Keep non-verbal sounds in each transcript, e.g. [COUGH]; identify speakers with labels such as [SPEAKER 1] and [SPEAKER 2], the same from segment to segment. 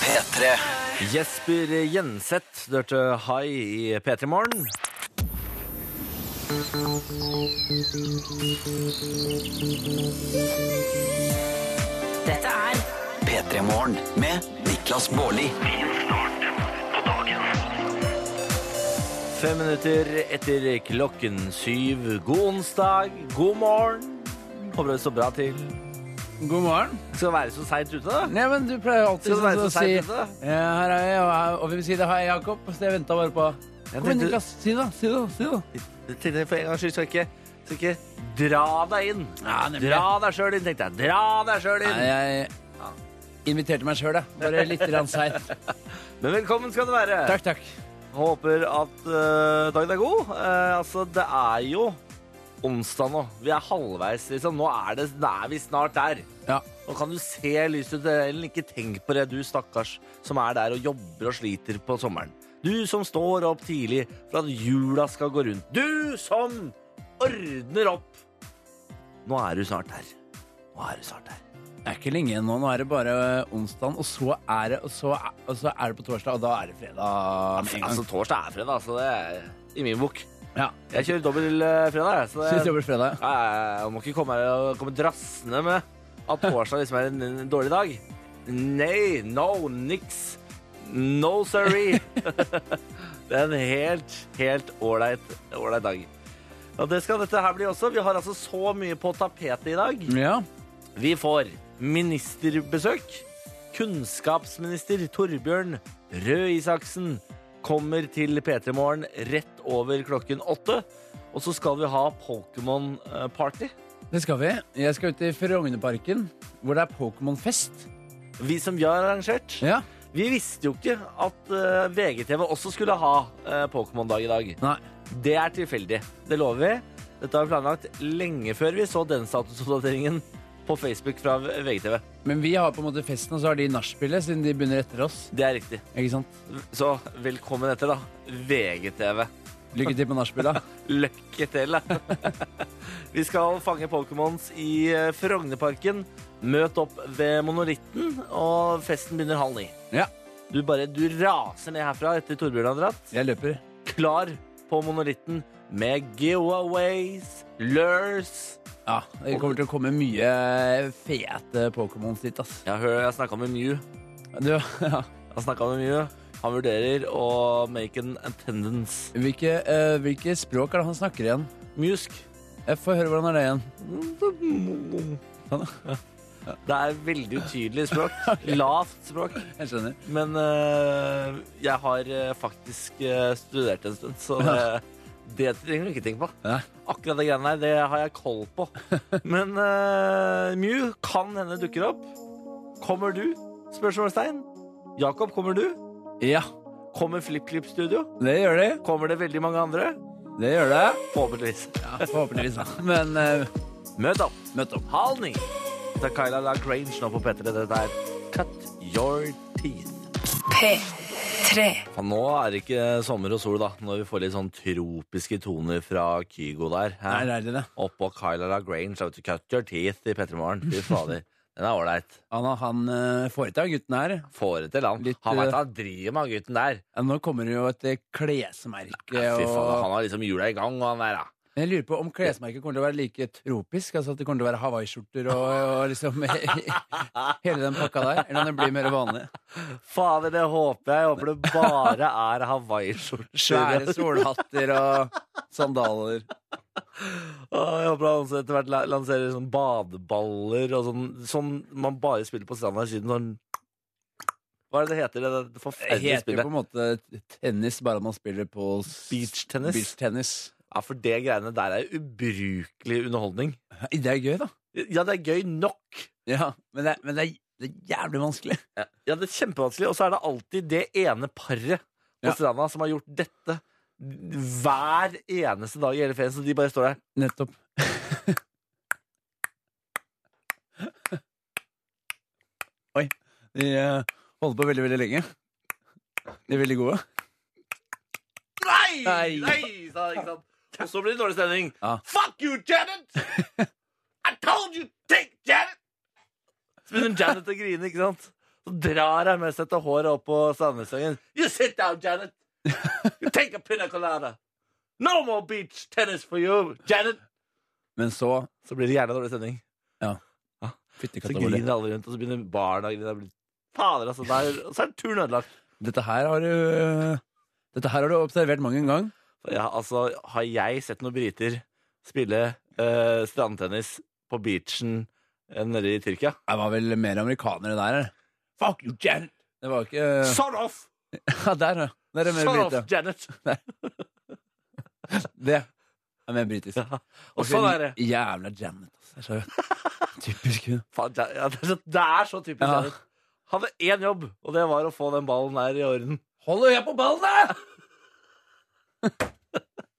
[SPEAKER 1] P3.
[SPEAKER 2] Jesper Jenseth dørte High i P3 Morgen.
[SPEAKER 3] Dette er
[SPEAKER 1] P3 Morgen med Niklas Baarli.
[SPEAKER 2] Fem minutter etter klokken syv. God onsdag, god morgen. Håper det står bra til.
[SPEAKER 4] God morgen.
[SPEAKER 2] Skal det være så seint ute, da?
[SPEAKER 4] Nei, men du pleier alltid
[SPEAKER 2] Skal det være så
[SPEAKER 4] sånn å si
[SPEAKER 2] seint
[SPEAKER 4] ja,
[SPEAKER 2] ute?
[SPEAKER 4] Her er jeg, og her- og vi vil si det. Hei, Jakob. Så jeg venta bare på
[SPEAKER 2] Jeg
[SPEAKER 4] Kom igjen,
[SPEAKER 2] tenkte-
[SPEAKER 4] Niklas. Si det, da. Si det. da, si det. da.
[SPEAKER 2] Jeg tenkte For en gangs skyld skal jeg ikke, skal jeg ikke dra deg inn.
[SPEAKER 4] Ja, nemlig.
[SPEAKER 2] dra deg sjøl inn, tenkte jeg. Dra deg sjøl inn.
[SPEAKER 4] Nei, jeg inviterte meg sjøl, jeg. Bare litt grann seigt.
[SPEAKER 2] Men velkommen skal du være.
[SPEAKER 4] Takk, takk.
[SPEAKER 2] Håper at eh, dagen er god. Eh, altså, det er jo onsdag nå. Vi er halvveis, liksom. Nå er, det, nå er vi snart der.
[SPEAKER 4] Ja.
[SPEAKER 2] Nå kan du se lyset ut Ellen. Ikke tenk på det, du stakkars som er der og jobber og sliter på sommeren. Du som står opp tidlig for at jula skal gå rundt. Du som ordner opp! Nå er du snart der. Nå er du snart der.
[SPEAKER 4] Det er ikke lenge igjen nå. Nå er det bare onsdag, og så er det, og så er, og så er det på torsdag, og da er det fredag med en gang.
[SPEAKER 2] Altså, torsdag er fredag, altså. Det er i min bok.
[SPEAKER 4] Ja.
[SPEAKER 2] Jeg kjører dobbel eh, fredag, jeg. Så
[SPEAKER 4] Syns
[SPEAKER 2] det,
[SPEAKER 4] jobber fredag.
[SPEAKER 2] Ja, ja, ja, Man må ikke komme, her og komme drassende med at torsdag liksom er en, en dårlig dag. Nei, no, niks. No sorry. det er en helt, helt ålreit ålreit dag. Og det skal dette her bli også. Vi har altså så mye på tapetet i dag.
[SPEAKER 4] Ja.
[SPEAKER 2] Vi får ministerbesøk. Kunnskapsminister Torbjørn Røe Isaksen kommer til P3 Morgen rett over klokken åtte. Og så skal vi ha eh, Pokémon-party.
[SPEAKER 4] Det skal vi. Jeg skal ut i Frognerparken, hvor det er Pokémon-fest.
[SPEAKER 2] Vi som vi har arrangert.
[SPEAKER 4] Ja.
[SPEAKER 2] Vi visste jo ikke at eh, VGTV også skulle ha eh, Pokémon-dag i dag.
[SPEAKER 4] Nei.
[SPEAKER 2] Det er tilfeldig. Det lover vi. Dette har vi planlagt lenge før vi så den statusoppdateringen på Facebook fra VGTV.
[SPEAKER 4] Men vi har på en måte festen, og så har de nachspielet, siden de begynner etter oss.
[SPEAKER 2] Det er riktig.
[SPEAKER 4] Ikke sant?
[SPEAKER 2] Så velkommen etter, da. VGTV.
[SPEAKER 4] Lykke til på nachspielet.
[SPEAKER 2] Lykke til. [LAUGHS] Vi skal fange Pokémons i eh, Frognerparken. Møt opp ved monolitten, og festen begynner halv ni.
[SPEAKER 4] [LAUGHS] Ja.
[SPEAKER 2] Du bare du raser ned herfra etter Torbjørn har dratt.
[SPEAKER 4] Jeg løper.
[SPEAKER 2] Klar på monolitten med giveaways, lures
[SPEAKER 4] Ja, Det kommer til å komme mye fete Pokémons dit, ass.
[SPEAKER 2] Jeg hører jeg snakka med Mew.
[SPEAKER 4] Du, ja.
[SPEAKER 2] Jeg snakket med Mew. Han vurderer å make an attendance.
[SPEAKER 4] hvilke, eh, hvilke språk er det han snakker igjen?
[SPEAKER 2] Musk.
[SPEAKER 4] Jeg får høre hvordan er det igjen.
[SPEAKER 2] Det er veldig utydelig språk. Lavt språk.
[SPEAKER 4] Jeg skjønner.
[SPEAKER 2] Men øh, jeg har øh, faktisk øh, studert en stund, så det, det trenger du ikke tenke på.
[SPEAKER 4] Nei.
[SPEAKER 2] Akkurat det greiene der, det har jeg koll på. Men øh, Mew kan hende dukker opp. Kommer du? Spørsmålstegn. Jakob, kommer du?
[SPEAKER 4] Ja,
[SPEAKER 2] Kommer FlippKlipp Studio?
[SPEAKER 4] det gjør de.
[SPEAKER 2] Kommer det veldig mange andre?
[SPEAKER 4] Det gjør det.
[SPEAKER 2] Forhåpentligvis.
[SPEAKER 4] Ja, forhåpentligvis, da. [LAUGHS] Men eh,
[SPEAKER 2] Møt opp
[SPEAKER 4] møtt opp.
[SPEAKER 2] halv ni. Det er Kyla LaGrange nå på P3. Dette er Cut Your Teeth.
[SPEAKER 3] P3.
[SPEAKER 2] Ja, nå er det ikke sommer og sol, da, når vi får litt sånn tropiske toner fra Kygo der.
[SPEAKER 4] Nei,
[SPEAKER 2] Her.
[SPEAKER 4] det er det.
[SPEAKER 2] Oppå Kyla LaGrange. vet du, Cut your teeth i P3 Morgen. Fy fader. Den er ålreit.
[SPEAKER 4] Han, han eh, får i seg gutten her.
[SPEAKER 2] Får det til, han.
[SPEAKER 4] Litt,
[SPEAKER 2] han
[SPEAKER 4] eh,
[SPEAKER 2] veit han driver med, han gutten der.
[SPEAKER 4] Ja, nå kommer det jo et eh, klesmerke.
[SPEAKER 2] Fy fader,
[SPEAKER 4] og...
[SPEAKER 2] han har liksom hjula i gang, og han der, da.
[SPEAKER 4] Men Jeg lurer på om klesmerket kommer til å være like tropisk. Altså at det kommer til å være hawaiiskjorter og, og liksom [LAUGHS] hele den pakka der. Eller om det blir mer vanlig.
[SPEAKER 2] Fader, det håper jeg. Jeg håper det bare er
[SPEAKER 4] Svære
[SPEAKER 2] hawaiiskjorter.
[SPEAKER 4] solhatter og sandaler.
[SPEAKER 2] Åh, Jeg håper han også etter hvert la- lanserer sånn badeballer og sånn, sånn man bare spiller på stranda i Syden. Sånn Hva er det det heter, det, der
[SPEAKER 4] Det
[SPEAKER 2] forferdelige
[SPEAKER 4] heter jo på
[SPEAKER 2] spillet?
[SPEAKER 4] en måte tennis, bare at man spiller på s-
[SPEAKER 2] Beachtennis?
[SPEAKER 4] beachtennis.
[SPEAKER 2] Ja, for det greiene der er ubrukelig underholdning.
[SPEAKER 4] Det er gøy, da.
[SPEAKER 2] Ja, det er gøy nok.
[SPEAKER 4] Ja, men det, er- men det, er, det er jævlig vanskelig.
[SPEAKER 2] Ja, det er kjempevanskelig, og så er det alltid det ene paret på
[SPEAKER 4] Ja.
[SPEAKER 2] stranda som har gjort dette hver eneste dag i hele ferien, så de bare står der.
[SPEAKER 4] Nettopp. [LAUGHS] Oi. De eh, holder på veldig, veldig lenge. De er veldig gode.
[SPEAKER 2] Nei!
[SPEAKER 4] Nei.
[SPEAKER 2] sa han, ikke sant? Og så blir det dårlig stemning.
[SPEAKER 4] Ja.
[SPEAKER 2] Fuck you, Janet! I told you, take Janet! Så begynner Janet å grine, ikke sant? Så drar jeg med seg dette håret opp på Sandnesvangen. You sit down, Janet. You take a pina colada. No more beach tennis for you, Janet.
[SPEAKER 4] Men så
[SPEAKER 2] Så blir det gjerne dårlig stemning. Så
[SPEAKER 4] Fyttekatta Molly.
[SPEAKER 2] griner alle rundt, og så begynner barna å grine. Jeg blir- Fader, altså. Der, og så er turen ødelagt.
[SPEAKER 4] Dette her har du Dette her har du observert mang en gang.
[SPEAKER 2] Så Ja, altså, har jeg sett noen briter spille eh, strandtennis på beachen eh, nede i Tyrkia?
[SPEAKER 4] Det var vel mer amerikanere der. Fuck you, Janet! Det var ikke
[SPEAKER 2] Son off!
[SPEAKER 4] [LAUGHS] Ja, der, ja. Der er det mer
[SPEAKER 2] Son off,
[SPEAKER 4] brite.
[SPEAKER 2] Janet!
[SPEAKER 4] Det er mer britisk.
[SPEAKER 2] Ja. Og sånn er det.
[SPEAKER 4] Jævla Janet, altså. Det er så [LAUGHS] Typisk hun.
[SPEAKER 2] Faen, det, er- ja, det, er så, det er så typisk.
[SPEAKER 4] Ja.
[SPEAKER 2] Janet. Hadde én jobb, og det var å få den ballen der i orden.
[SPEAKER 4] Holder jeg på ballen, da?!
[SPEAKER 2] Nå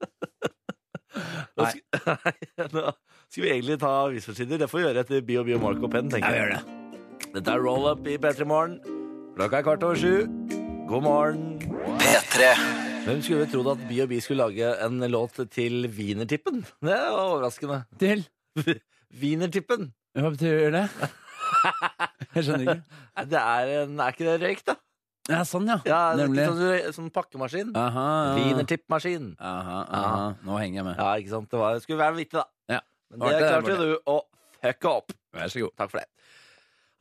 [SPEAKER 4] Nei.
[SPEAKER 2] sk- [LAUGHS] Nei, nå skal vi egentlig ta avisforsider. Det får vi gjøre etter Bio Bio Marco Penn. tenker
[SPEAKER 4] Ja, vi
[SPEAKER 2] jeg.
[SPEAKER 4] gjør det.
[SPEAKER 2] Dette er Roll Up i P3 Morgen. Klokka er kvart over sju. God morgen.
[SPEAKER 1] P3.
[SPEAKER 2] Hvem skulle trodd at Bio Bi skulle lage en låt til Wienertippen? Det var overraskende.
[SPEAKER 4] Til.
[SPEAKER 2] Wienertippen.
[SPEAKER 4] Hva betyr [LAUGHS] det? Jeg skjønner ikke.
[SPEAKER 2] Nei, Det er, en, er ikke det røyk, da?
[SPEAKER 4] Ja, sånn, ja.
[SPEAKER 2] Ja, det er
[SPEAKER 4] Nemlig. Ah.
[SPEAKER 2] ikke Sånn, sånn pakkemaskin.
[SPEAKER 4] Aha, ja.
[SPEAKER 2] Wienertippmaskin.
[SPEAKER 4] aha, aha. Nå henger jeg med.
[SPEAKER 2] Ja, ikke sant? Det var, skulle være vittig, da.
[SPEAKER 4] Ja.
[SPEAKER 2] Men det
[SPEAKER 4] Artig, det,
[SPEAKER 2] klarte jo du å fucke opp.
[SPEAKER 4] Vær så god.
[SPEAKER 2] Takk for det.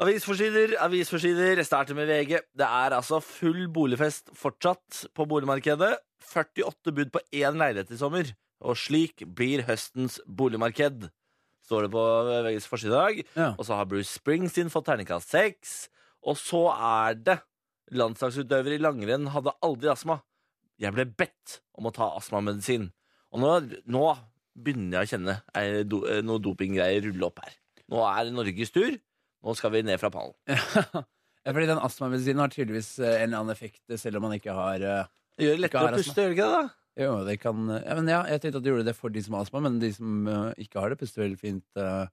[SPEAKER 2] Avisforsider, avisforsider, starter med VG. Det er altså full boligfest fortsatt på boligmarkedet. 48 bud på én leilighet i sommer, og slik blir høstens boligmarked. Står det på VGs forside i dag.
[SPEAKER 4] Ja.
[SPEAKER 2] Og så har Bruce Springsteen fått terningkast seks. Og så er det landslagsutøver i langrenn hadde aldri astma. Jeg ble bedt om å ta astmamedisin. Og nå, nå begynner jeg å kjenne ei do, eh, noe dopinggreier rulle opp her. Nå er det Norges tur. Nå skal vi ned fra pallen.
[SPEAKER 4] [LAUGHS] Ja, fordi den astmamedisinen har tydeligvis eh, en eller annen effekt, eh, selv om man ikke har eh,
[SPEAKER 2] Det gjør det
[SPEAKER 4] Ikke har
[SPEAKER 2] lettere å
[SPEAKER 4] astma.
[SPEAKER 2] puste, gjør det ikke det? da?
[SPEAKER 4] Jo, det kan eh, ja, men ja, Jeg tenkte at du gjorde det for de som har astma, men de som eh, ikke har det, puster vel fint eh,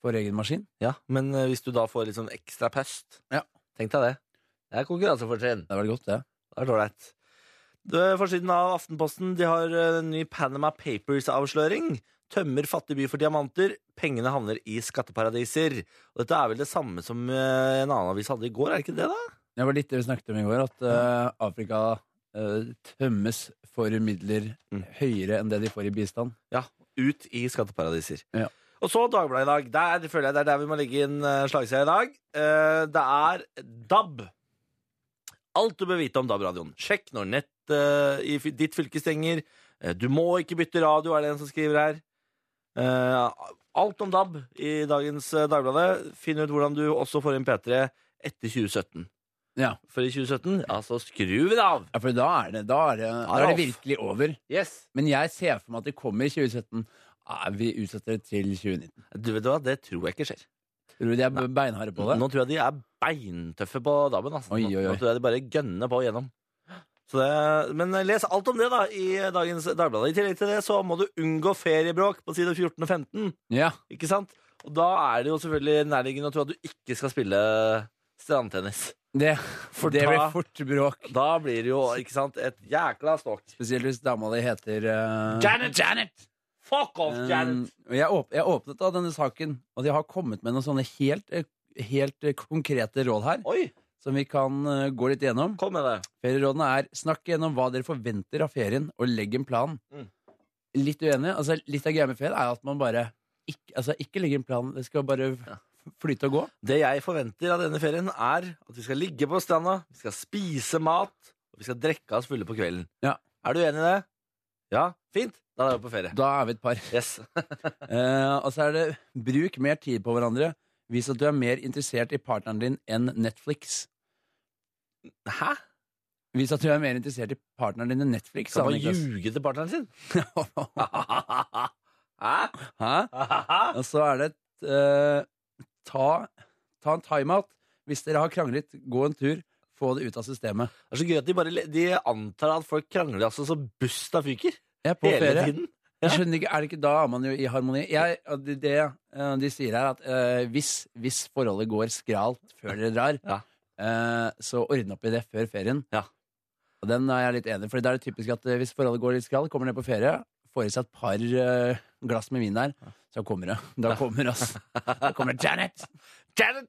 [SPEAKER 4] for egen maskin.
[SPEAKER 2] Ja, Men eh, hvis du da får litt sånn ekstra pust,
[SPEAKER 4] Ja.
[SPEAKER 2] tenk deg det. Det er konkurransefortrinn.
[SPEAKER 4] Det er vel godt, det.
[SPEAKER 2] Det er ålreit. Det- Forsiden av Aftenposten de har eh, en ny Panama Papers-avsløring. Tømmer fattig by for diamanter. Pengene havner i skatteparadiser. Og dette er vel det samme som eh, en annen avis hadde i går, er det ikke det, da?
[SPEAKER 4] Det var litt det vi snakket om i går, at eh, Afrika eh, tømmes for midler
[SPEAKER 2] Mm.
[SPEAKER 4] høyere enn det de får i bistand.
[SPEAKER 2] Ja, ut i skatteparadiser.
[SPEAKER 4] Ja.
[SPEAKER 2] Og så Dagbladet i dag. Der føler jeg det er der vi må legge inn eh, slagsida i dag. Eh, Det er DAB. Alt du bør vite om DAB-radioen. Sjekk når nett eh, i fy- ditt fylke stenger. Eh, Du må ikke bytte radio, er det en som skriver her. Eh, Alt om DAB i dagens eh, Dagbladet. Finn ut hvordan du også får inn P3 etter 2017.
[SPEAKER 4] Ja.
[SPEAKER 2] For i 2017, ja, så skrur vi det av.
[SPEAKER 4] Ja, for da er det, da er det, da
[SPEAKER 2] er
[SPEAKER 4] er
[SPEAKER 2] off.
[SPEAKER 4] det virkelig over.
[SPEAKER 2] Yes.
[SPEAKER 4] Men jeg ser for meg at det kommer i 2017. Ah, vi utsetter det til 2019.
[SPEAKER 2] Du vet du hva, det tror jeg ikke skjer.
[SPEAKER 4] Tror du de er beinharde på det?
[SPEAKER 2] Nå tror jeg de er beintøffe på DAB-en. Altså.
[SPEAKER 4] Oi, oi,
[SPEAKER 2] Nå
[SPEAKER 4] oi.
[SPEAKER 2] tror jeg de bare gønner på gjennom. Så det, men les alt om det da i dagens Dagbladet. I tillegg til det så må du unngå feriebråk på side 14 og 15.
[SPEAKER 4] Ja.
[SPEAKER 2] Ikke sant? Og da er det jo selvfølgelig nærliggende å tro at du ikke skal spille strandtennis.
[SPEAKER 4] Det,
[SPEAKER 2] For
[SPEAKER 4] det
[SPEAKER 2] da-
[SPEAKER 4] blir fort bråk.
[SPEAKER 2] Da blir det jo ikke sant, et jækla ståk.
[SPEAKER 4] Spesielt hvis dama di heter eh,
[SPEAKER 2] Janet! Janet! Fuck off,
[SPEAKER 4] Um,
[SPEAKER 2] Janet!
[SPEAKER 4] og jeg, åp jeg åpnet da denne saken, og de har kommet med noen sånne helt, eh, helt eh, konkrete råd her,
[SPEAKER 2] Oi,
[SPEAKER 4] som vi kan eh, gå litt gjennom.
[SPEAKER 2] kom med det.
[SPEAKER 4] Ferierådene er snakk gjennom hva dere forventer av ferien, og legg en plan.
[SPEAKER 2] Mm.
[SPEAKER 4] Litt uenig. altså Litt av greia med ferie er at man bare ikke, altså, ikke legger en plan. Det skal bare f- flyte og gå.
[SPEAKER 2] Det jeg forventer av denne ferien, er at vi skal ligge på stranda, vi skal spise mat, og vi skal drikke oss fulle på kvelden.
[SPEAKER 4] Ja.
[SPEAKER 2] Er du enig i det? Ja? Fint. Da er vi på ferie.
[SPEAKER 4] Da er vi et
[SPEAKER 2] [LAUGHS]
[SPEAKER 4] par. [LAUGHS]
[SPEAKER 2] Yes.
[SPEAKER 4] Eh, og så er det bruk mer tid på hverandre. Vis at du er mer interessert i partneren din enn Netflix.
[SPEAKER 2] Hæ?
[SPEAKER 4] Vis at du er mer interessert i partneren din enn Netflix.
[SPEAKER 2] Skal
[SPEAKER 4] sa
[SPEAKER 2] man
[SPEAKER 4] Niklas.
[SPEAKER 2] ljuge til partneren sin? [LAUGHS] Hæ?
[SPEAKER 4] [LAUGHS] Hæ? Og så er det et, eh, ta, ta en timeout. Hvis dere har kranglet, gå en tur. Få det ut av systemet.
[SPEAKER 2] Det er så gøy at de bare le- de antar at folk krangler altså så busta fyker
[SPEAKER 4] Jeg er på
[SPEAKER 2] hele
[SPEAKER 4] ferie.
[SPEAKER 2] tiden.
[SPEAKER 4] Jeg skjønner ikke, er det ikke da er man jo i harmoni? Jeg, og det, det eh, de sier her, at eh, hvis, hvis forholdet går skralt før dere drar,
[SPEAKER 2] Ja.
[SPEAKER 4] eh, så ordne opp i det før ferien.
[SPEAKER 2] Ja.
[SPEAKER 4] Og den er jeg litt enig i, for det er det typisk at eh, hvis forholdet går litt skralt, kommer dere på ferie, får i seg et par eh,
[SPEAKER 2] [LAUGHS]
[SPEAKER 4] glass med vin der, så kommer det. Da kommer, ass. Da kommer Janet!
[SPEAKER 2] Janet,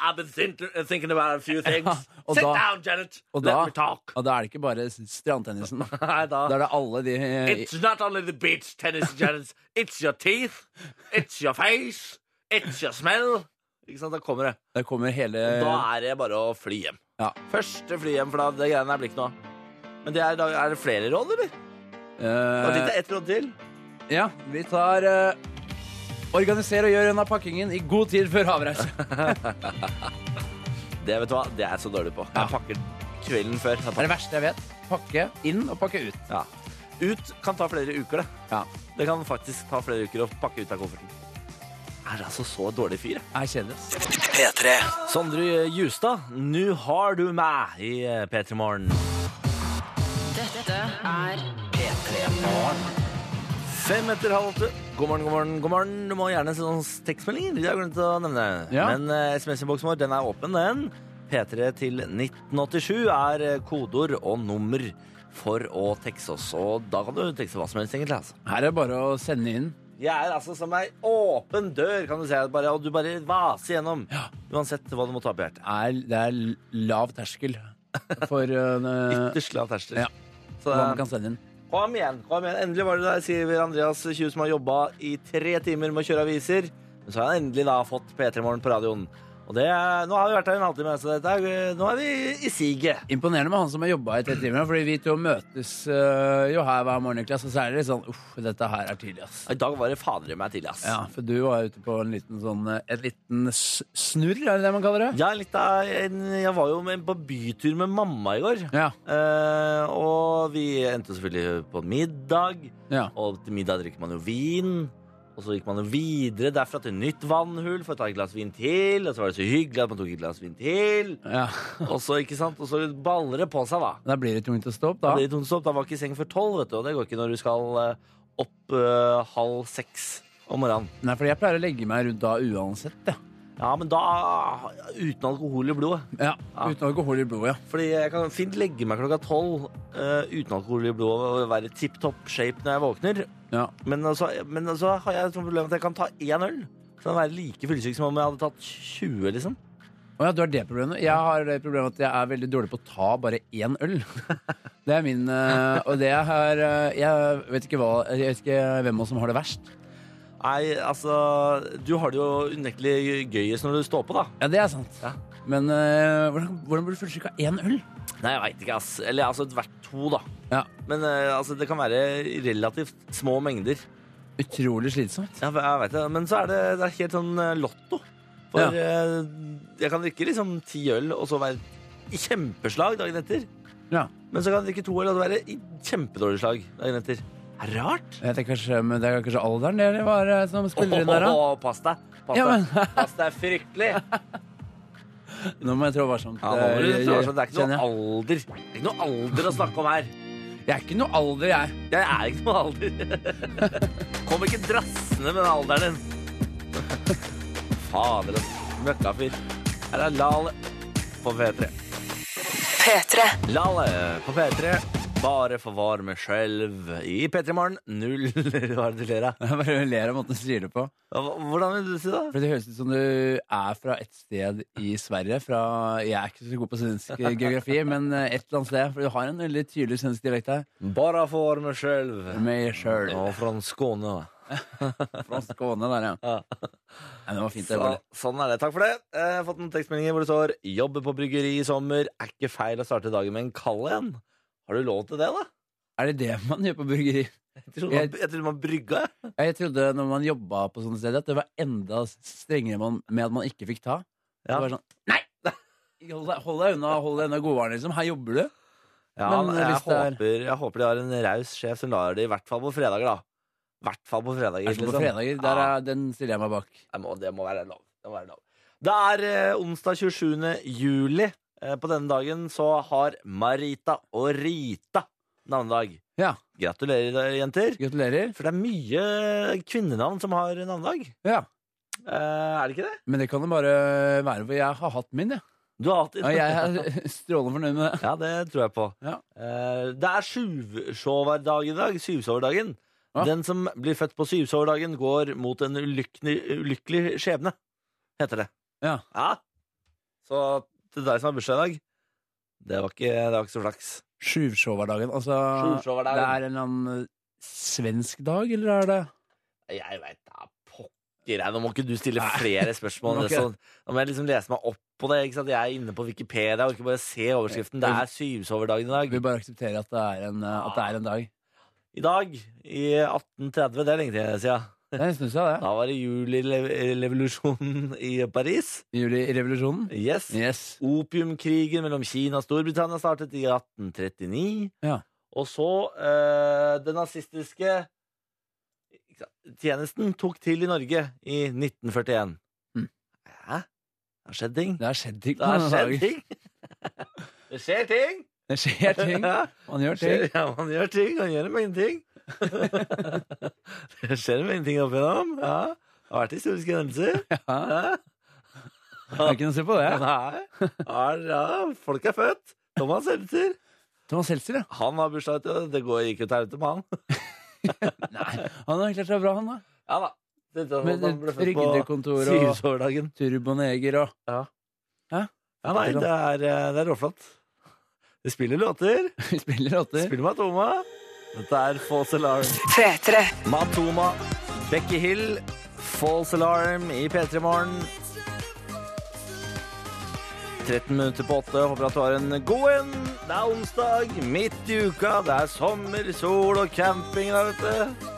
[SPEAKER 2] I've been thin- thinking about a
[SPEAKER 4] [LAUGHS]
[SPEAKER 2] few things.
[SPEAKER 4] og
[SPEAKER 2] Sit
[SPEAKER 4] da-
[SPEAKER 2] down, Janet.
[SPEAKER 4] og
[SPEAKER 2] Let
[SPEAKER 4] da-
[SPEAKER 2] me talk. [LAUGHS]
[SPEAKER 4] Og da er det ikke bare strandtennisen. Da
[SPEAKER 2] Nei, da.
[SPEAKER 4] er det alle de
[SPEAKER 2] It's not only the beach
[SPEAKER 4] [LAUGHS]
[SPEAKER 2] tennis, Janet. It's your teeth. It's your face. It's your smell. Ikke sant, Da kommer det.
[SPEAKER 4] Der kommer hele
[SPEAKER 2] Da er det bare å fly hjem.
[SPEAKER 4] Eh. Ja.
[SPEAKER 2] Første fly hjem, for da det greiene her blir ikke noe av. Men det er, da- er det flere råd, eller? Og dette
[SPEAKER 4] eh,
[SPEAKER 2] er ett råd til.
[SPEAKER 4] Ja, vi tar eh, Organiser og gjør unna pakkingen i god tid før avreise.
[SPEAKER 2] Det vet du hva, det er jeg så dårlig på. Jeg pakker kvelden før. Jeg
[SPEAKER 4] Det er
[SPEAKER 2] pakker.
[SPEAKER 4] det verste jeg vet. Pakke inn og pakke ut.
[SPEAKER 2] Ja. Ut kan ta flere uker, det.
[SPEAKER 4] Ja,
[SPEAKER 2] Det kan faktisk ta flere uker å pakke ut av kofferten. Er altså så dårlig fyr, jeg.
[SPEAKER 4] er kjedelig. ass.
[SPEAKER 1] P3.
[SPEAKER 2] Sondre Justad, nå har du meg i P3 Morgen.
[SPEAKER 3] Dette er
[SPEAKER 2] Fem etter halv åtte. God morgen, god morgen, god morgen. Du må gjerne sende oss tekstmeldinger. Det har jeg glemt å nevne.
[SPEAKER 4] Ja.
[SPEAKER 2] Men eh, SMS-innboksen vår den er åpen, den. P3 til 1987 er eh, kodeord og nummer for å tekste oss. Og da kan du tekste hva som helst, egentlig. altså.
[SPEAKER 4] Her er det bare å sende inn.
[SPEAKER 2] Jeg er altså som ei åpen dør, kan du si. Bare, og du bare vaser gjennom. Uansett hva du måtte ha på hjertet.
[SPEAKER 4] Er, det er lav terskel for [LAUGHS] eh,
[SPEAKER 2] Ytterst lav terskel.
[SPEAKER 4] ja.
[SPEAKER 2] Så
[SPEAKER 4] hva
[SPEAKER 2] det er-
[SPEAKER 4] man kan sende inn.
[SPEAKER 2] Kom igjen, kom igjen. Endelig var det der, sier Andreas Kjus, som har jobba i tre timer med å kjøre aviser. Men så har han endelig da fått P3 Morgen på radioen. Og det, er- nå har vi vært her en halvtime, så dette er, eh, nå er vi i siget.
[SPEAKER 4] Imponerende med han som har jobba i tre timer, fordi vi to møtes eh, jo her hver morgen, Niklas, og så er det litt sånn uff, dette her er tidlig, ass.
[SPEAKER 2] I dag var det fader i meg tidlig, ass.
[SPEAKER 4] Ja, for du var ute på en liten sånn eh, Et liten s- snurr, er det det man kaller det?
[SPEAKER 2] Ja, litt av, en, jeg var jo med, på bytur med mamma i går.
[SPEAKER 4] Ja.
[SPEAKER 2] Eh, og vi endte selvfølgelig på middag.
[SPEAKER 4] ja.
[SPEAKER 2] Og til middag drikker man jo vin. Og så gikk man jo videre derfra til nytt vannhull for å ta et glass vin til. Og så var det så hyggelig at man tok et glass vin til.
[SPEAKER 4] ja.
[SPEAKER 2] Og så, ikke sant? Og så baller det på seg, da.
[SPEAKER 4] Da blir det tungt å stå opp,
[SPEAKER 2] Da
[SPEAKER 4] da.
[SPEAKER 2] blir det tungt stopp. Da var ikke i seng før tolv, vet du. Og det går ikke når du skal eh, opp eh, halv seks om morgenen.
[SPEAKER 4] Nei, fordi jeg pleier å legge meg rundt da uansett, jeg.
[SPEAKER 2] Ja, men da uten alkohol i blodet.
[SPEAKER 4] Ja. Uten alkohol i blodet, ja.
[SPEAKER 2] Fordi jeg kan fint legge meg klokka tolv eh, uten alkohol i blodet og være i tipp topp shape når jeg våkner.
[SPEAKER 4] ja.
[SPEAKER 2] Men altså, men altså har jeg et sånt problem at jeg kan ta én øl. Så kan jeg være like fyllesyk som om jeg hadde tatt 20, liksom.
[SPEAKER 4] Å ja, du har det problemet. Jeg har det problemet at jeg er veldig dårlig på å ta bare én øl. [LAUGHS] Det er min eh, Og det er eh, Jeg vet ikke, hva, jeg vet ikke hvem av oss som har det verst.
[SPEAKER 2] Nei, altså Du har det jo unektelig gøyest når du står på, da.
[SPEAKER 4] Ja, det er sant.
[SPEAKER 2] Ja.
[SPEAKER 4] Men eh, hvordan, hvordan blir du fullsyk av én øl?
[SPEAKER 2] Nei, jeg veit ikke, ass. Eller altså hvert to, da.
[SPEAKER 4] Ja.
[SPEAKER 2] Men eh, altså, det kan være relativt små mengder.
[SPEAKER 4] Utrolig slitsomt.
[SPEAKER 2] Jeg, jeg vet det. Men så er det, det er helt sånn eh, lotto. For
[SPEAKER 4] Ja.
[SPEAKER 2] eh, jeg kan drikke liksom ti øl og så være i kjempeslag dagen etter.
[SPEAKER 4] Ja.
[SPEAKER 2] Men så kan jeg drikke to øl og være i kjempedårlig slag dagen etter. Det er rart.
[SPEAKER 4] Jeg tenker kanskje, men det er kanskje alderen det var eh, som spiller inn
[SPEAKER 2] [LAUGHS]
[SPEAKER 4] der, da.
[SPEAKER 2] Åh, pass deg. Pass
[SPEAKER 4] Ja, men-
[SPEAKER 2] deg. Pass deg fryktelig.
[SPEAKER 4] Nå må jeg trå varsomt.
[SPEAKER 2] Ja, nå må du
[SPEAKER 4] eh,
[SPEAKER 2] tro, altså, det er ikke
[SPEAKER 4] kjenner
[SPEAKER 2] noe
[SPEAKER 4] jeg.
[SPEAKER 2] alder Det er ikke noe alder å snakke om her.
[SPEAKER 4] Jeg er ikke noe alder, jeg. [LAUGHS]
[SPEAKER 2] Jeg er ikke noe alder. [LAUGHS] Kom ikke drassende med den alderen din. [LAUGHS] Fader, ass. møkkafyr. Her er Lale på P3.
[SPEAKER 3] P3.
[SPEAKER 2] Lale på P3. Bare forvar meg sjølv i P3 Morgen. Null [LAUGHS] Hva er det du ler av?
[SPEAKER 4] Jeg bare ler av måten du sier det på.
[SPEAKER 2] Hvordan vil du si det?
[SPEAKER 4] For Det høres ut som du er fra et sted i Sverige. Fra, jeg er ikke så god på svensk geografi, men eh, et eller annet sted. For du har en veldig tydelig svensk dialekt her.
[SPEAKER 2] Bare forvar meg sjølv.
[SPEAKER 4] Meg sjøl.
[SPEAKER 2] Og fra Skåne.
[SPEAKER 4] Fra Skåne der, ja. Nei, det var fint. Det
[SPEAKER 2] Så,
[SPEAKER 4] var.
[SPEAKER 2] sånn er det. Takk for det. Jeg har fått noen tekstmeldinger hvor det står 'Jobbe på bryggeri i sommer'. Er ikke feil å starte dagen med en kald en. Har du lov til det, da?
[SPEAKER 4] Er det det man gjør på burgeri?
[SPEAKER 2] Jeg trodde man, jeg trodde man brygga. jeg.
[SPEAKER 4] Jeg trodde når man jobba på sånne steder, at det var enda strengere man- med at man ikke fikk ta. Det
[SPEAKER 2] Ja.
[SPEAKER 4] var sånn, Nei! Hold deg, hold deg unna hold deg unna godvaren, liksom. Her jobber du.
[SPEAKER 2] Ja,
[SPEAKER 4] Men,
[SPEAKER 2] men, jeg,
[SPEAKER 4] hvis det er-
[SPEAKER 2] håper, jeg håper de har en raus sjef som lar det, i hvert fall på fredager, da. I hvert fall på fredager.
[SPEAKER 4] Er det på
[SPEAKER 2] liksom.
[SPEAKER 4] fredager, der er, Den stiller jeg meg bak.
[SPEAKER 2] Ja, det må, det må være lov. Det må være lov. Det er eh, onsdag 27. juli. Eh, på denne dagen så har Marita og Rita navnedag.
[SPEAKER 4] Ja,
[SPEAKER 2] Gratulerer, jenter.
[SPEAKER 4] Gratulerer.
[SPEAKER 2] For det er mye kvinnenavn som har navnedag.
[SPEAKER 4] Ja.
[SPEAKER 2] Eh, er det ikke det?
[SPEAKER 4] Men det kan det bare være, for jeg har hatt min, jeg.
[SPEAKER 2] Du har hatt
[SPEAKER 4] Ja, jeg er strålende fornøyd med det.
[SPEAKER 2] [LAUGHS] Ja, det tror jeg på.
[SPEAKER 4] Ja.
[SPEAKER 2] Eh, det er syvsoverdag i dag. Syvsoverdagen.
[SPEAKER 4] Hva?
[SPEAKER 2] Den som blir født på syvsoverdagen, går mot en ulykkelig, ulykkelig skjebne, heter det.
[SPEAKER 4] Ja.
[SPEAKER 2] Så til deg som har bursdag i dag, det var ikke, det var ikke så flaks.
[SPEAKER 4] Sjuvsjåvardagen. Altså,
[SPEAKER 2] Sjuvsjåvardagen.
[SPEAKER 4] det er en eller annen eh, svensk dag, eller er det
[SPEAKER 2] Jeg veit da pokker jeg. Nå må ikke du stille
[SPEAKER 4] [LAUGHS]
[SPEAKER 2] flere spørsmål.
[SPEAKER 4] Nå må
[SPEAKER 2] enn det,
[SPEAKER 4] ikke-
[SPEAKER 2] sånn. Nå må jeg liksom lese meg opp på det. Ikke sant? Jeg er inne på Wikipedia. Jeg orker bare se overskriften. Det er syvsoverdagen i
[SPEAKER 4] Jeg
[SPEAKER 2] dag.
[SPEAKER 4] vil bare akseptere at det er en, eh, at det er en [LAUGHS] dag.
[SPEAKER 2] I dag, i 1830, det er lenge til siden.
[SPEAKER 4] Det er en stund siden, det.
[SPEAKER 2] Da var det julirevolusjonen i Paris.
[SPEAKER 4] Juli i revolusjonen.
[SPEAKER 2] Yes.
[SPEAKER 4] Yes.
[SPEAKER 2] Opiumkrigen mellom Kina og Storbritannia startet i 1839.
[SPEAKER 4] Ja.
[SPEAKER 2] Og så eh, den nazistiske ikke sant, tjenesten tok til i Norge i 1941.
[SPEAKER 4] Mm.
[SPEAKER 2] Hæ? Det har skjedd ting.
[SPEAKER 4] [LAUGHS] Det har skjedd
[SPEAKER 2] Det
[SPEAKER 4] ting. på
[SPEAKER 2] har
[SPEAKER 4] denne
[SPEAKER 2] skjedd
[SPEAKER 4] dagen.
[SPEAKER 2] ting. Det skjer ting.
[SPEAKER 4] Det skjer ting.
[SPEAKER 2] Ja,
[SPEAKER 4] Man [LAUGHS] gjør ting.
[SPEAKER 2] skjer, ja, man gjør ting. Man gjør mange ting. [LAUGHS] det skjer mange ting opp igjennom. Ja. Det har vært historiske
[SPEAKER 4] [LAUGHS]
[SPEAKER 2] hendelser.
[SPEAKER 4] Ja.
[SPEAKER 2] Ja.
[SPEAKER 4] Det er ikke noe å se på det.
[SPEAKER 2] Nei. Ja, ja, folk er født. Thomas Helter.
[SPEAKER 4] Thomas Seltzer, ja.
[SPEAKER 2] Han har bursdag, vet du. Det går, gikk jo til helvete med han. [LAUGHS]
[SPEAKER 4] Han har klart seg bra, han da.
[SPEAKER 2] Ja da. Det, det,
[SPEAKER 4] Med
[SPEAKER 2] han ble født på
[SPEAKER 4] ryggedekontor og
[SPEAKER 2] syvårsdagen.
[SPEAKER 4] turboneger og [LAUGHS]
[SPEAKER 2] Ja, nei, det er, eh, det er råflott. Vi spiller låter.
[SPEAKER 4] Vi spiller
[SPEAKER 2] Vi
[SPEAKER 4] låter.
[SPEAKER 2] Spiller Matoma. Dette er False Alarm.
[SPEAKER 3] P3.
[SPEAKER 2] Matoma, Becky Hill, False Alarm i P3 Morgen. 13 minutter på åtte. Håper at du har en god en. Det er onsdag, midt i uka. Det er sommer, sol og camping der, vet du.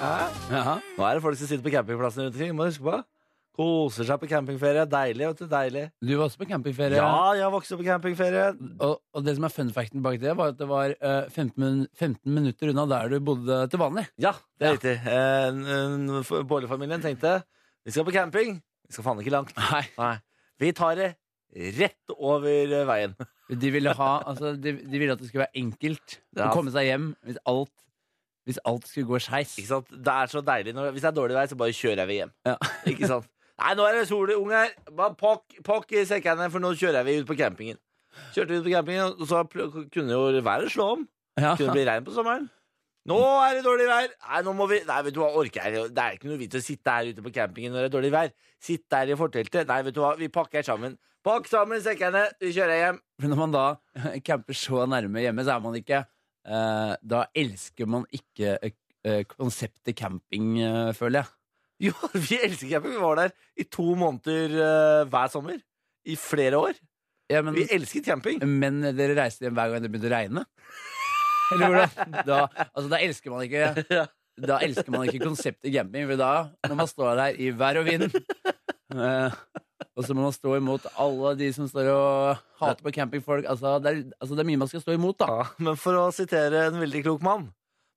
[SPEAKER 2] Hæ?
[SPEAKER 4] Ja.
[SPEAKER 2] Nå er det folk som sitter på campingplassen rundt omkring, må du huske på. Koser seg på campingferie. Deilig, vet du. Deilig. Eh,
[SPEAKER 4] Du var også på campingferie.
[SPEAKER 2] Ja, jeg har vokst opp på campingferie.
[SPEAKER 4] Og, og det som er fun facten bak det, var at det var eh, 15, min 15 minutter unna der du bodde til vanlig.
[SPEAKER 2] Ja, det er
[SPEAKER 4] Ja.
[SPEAKER 2] riktig. Eh, n- n- for- Bårdefamilien tenkte vi skal på camping. Vi skal faen ikke langt.
[SPEAKER 4] Nei.
[SPEAKER 2] Nei. Vi tar det rett over eh, veien.
[SPEAKER 4] De ville, ha, altså, de, de ville at det skulle være enkelt
[SPEAKER 2] Ja.
[SPEAKER 4] å komme seg hjem hvis alt, hvis alt skulle gå skeis.
[SPEAKER 2] Ikke sant? Det er så deilig. Når, hvis det er dårlig vei, så bare kjører jeg vi hjem.
[SPEAKER 4] Ja.
[SPEAKER 2] Ikke sant? Nei, nå er det sol, unger. Bare Pakk pakk i sekkene, for nå kjører vi ut på campingen. Kjørte vi ut på campingen, og så pl- kunne jo været slå om.
[SPEAKER 4] Ja.
[SPEAKER 2] Kunne det bli regn på sommeren? Nå er det dårlig vær! Nei, nå må vi Nei, vet du hva, orker jeg Det er ikke noe vits å sitte her ute på campingen når det er dårlig vær. Sitt der i forteltet. Nei, vet du hva, vi pakker sammen. Pakk sammen sekkene, vi kjører hjem. [LAUGHS]
[SPEAKER 4] Men når man da camper så nærme hjemme, så er man ikke eh, Da elsker man ikke eh, konseptet camping, eh, føler jeg.
[SPEAKER 2] Jo, vi elsker camping. Vi var der i to måneder eh, hver sommer. I flere år.
[SPEAKER 4] Ja, men,
[SPEAKER 2] Vi elsket camping.
[SPEAKER 4] men dere reiste hjem hver gang det begynte å regne? Eller hvordan? Da, altså, da elsker man ikke
[SPEAKER 2] [LAUGHS] Ja.
[SPEAKER 4] Da elsker man ikke konseptet camping, for da må man stå der i vær og vind. Eh, og så må man stå imot alle de som står og hater på campingfolk. Altså, det er, altså, det er mye man skal stå imot, da. [LAUGHS]
[SPEAKER 2] Ja, men for å sitere en veldig klok mann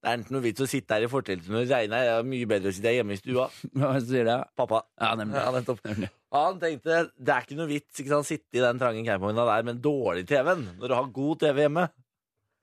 [SPEAKER 2] Det er ikke noe vits å sitte her i forteltet når det regner. Det er mye bedre å sitte her hjemme i stua.
[SPEAKER 4] Hva sier det?
[SPEAKER 2] Pappa.
[SPEAKER 4] Ja, nemlig.
[SPEAKER 2] Ja, nettopp.
[SPEAKER 4] nemlig.
[SPEAKER 2] Han tenkte det er ikke noe vits ikke sant, sitte i den trange campingvogna der med en dårlig TV-en når du har god TV hjemme.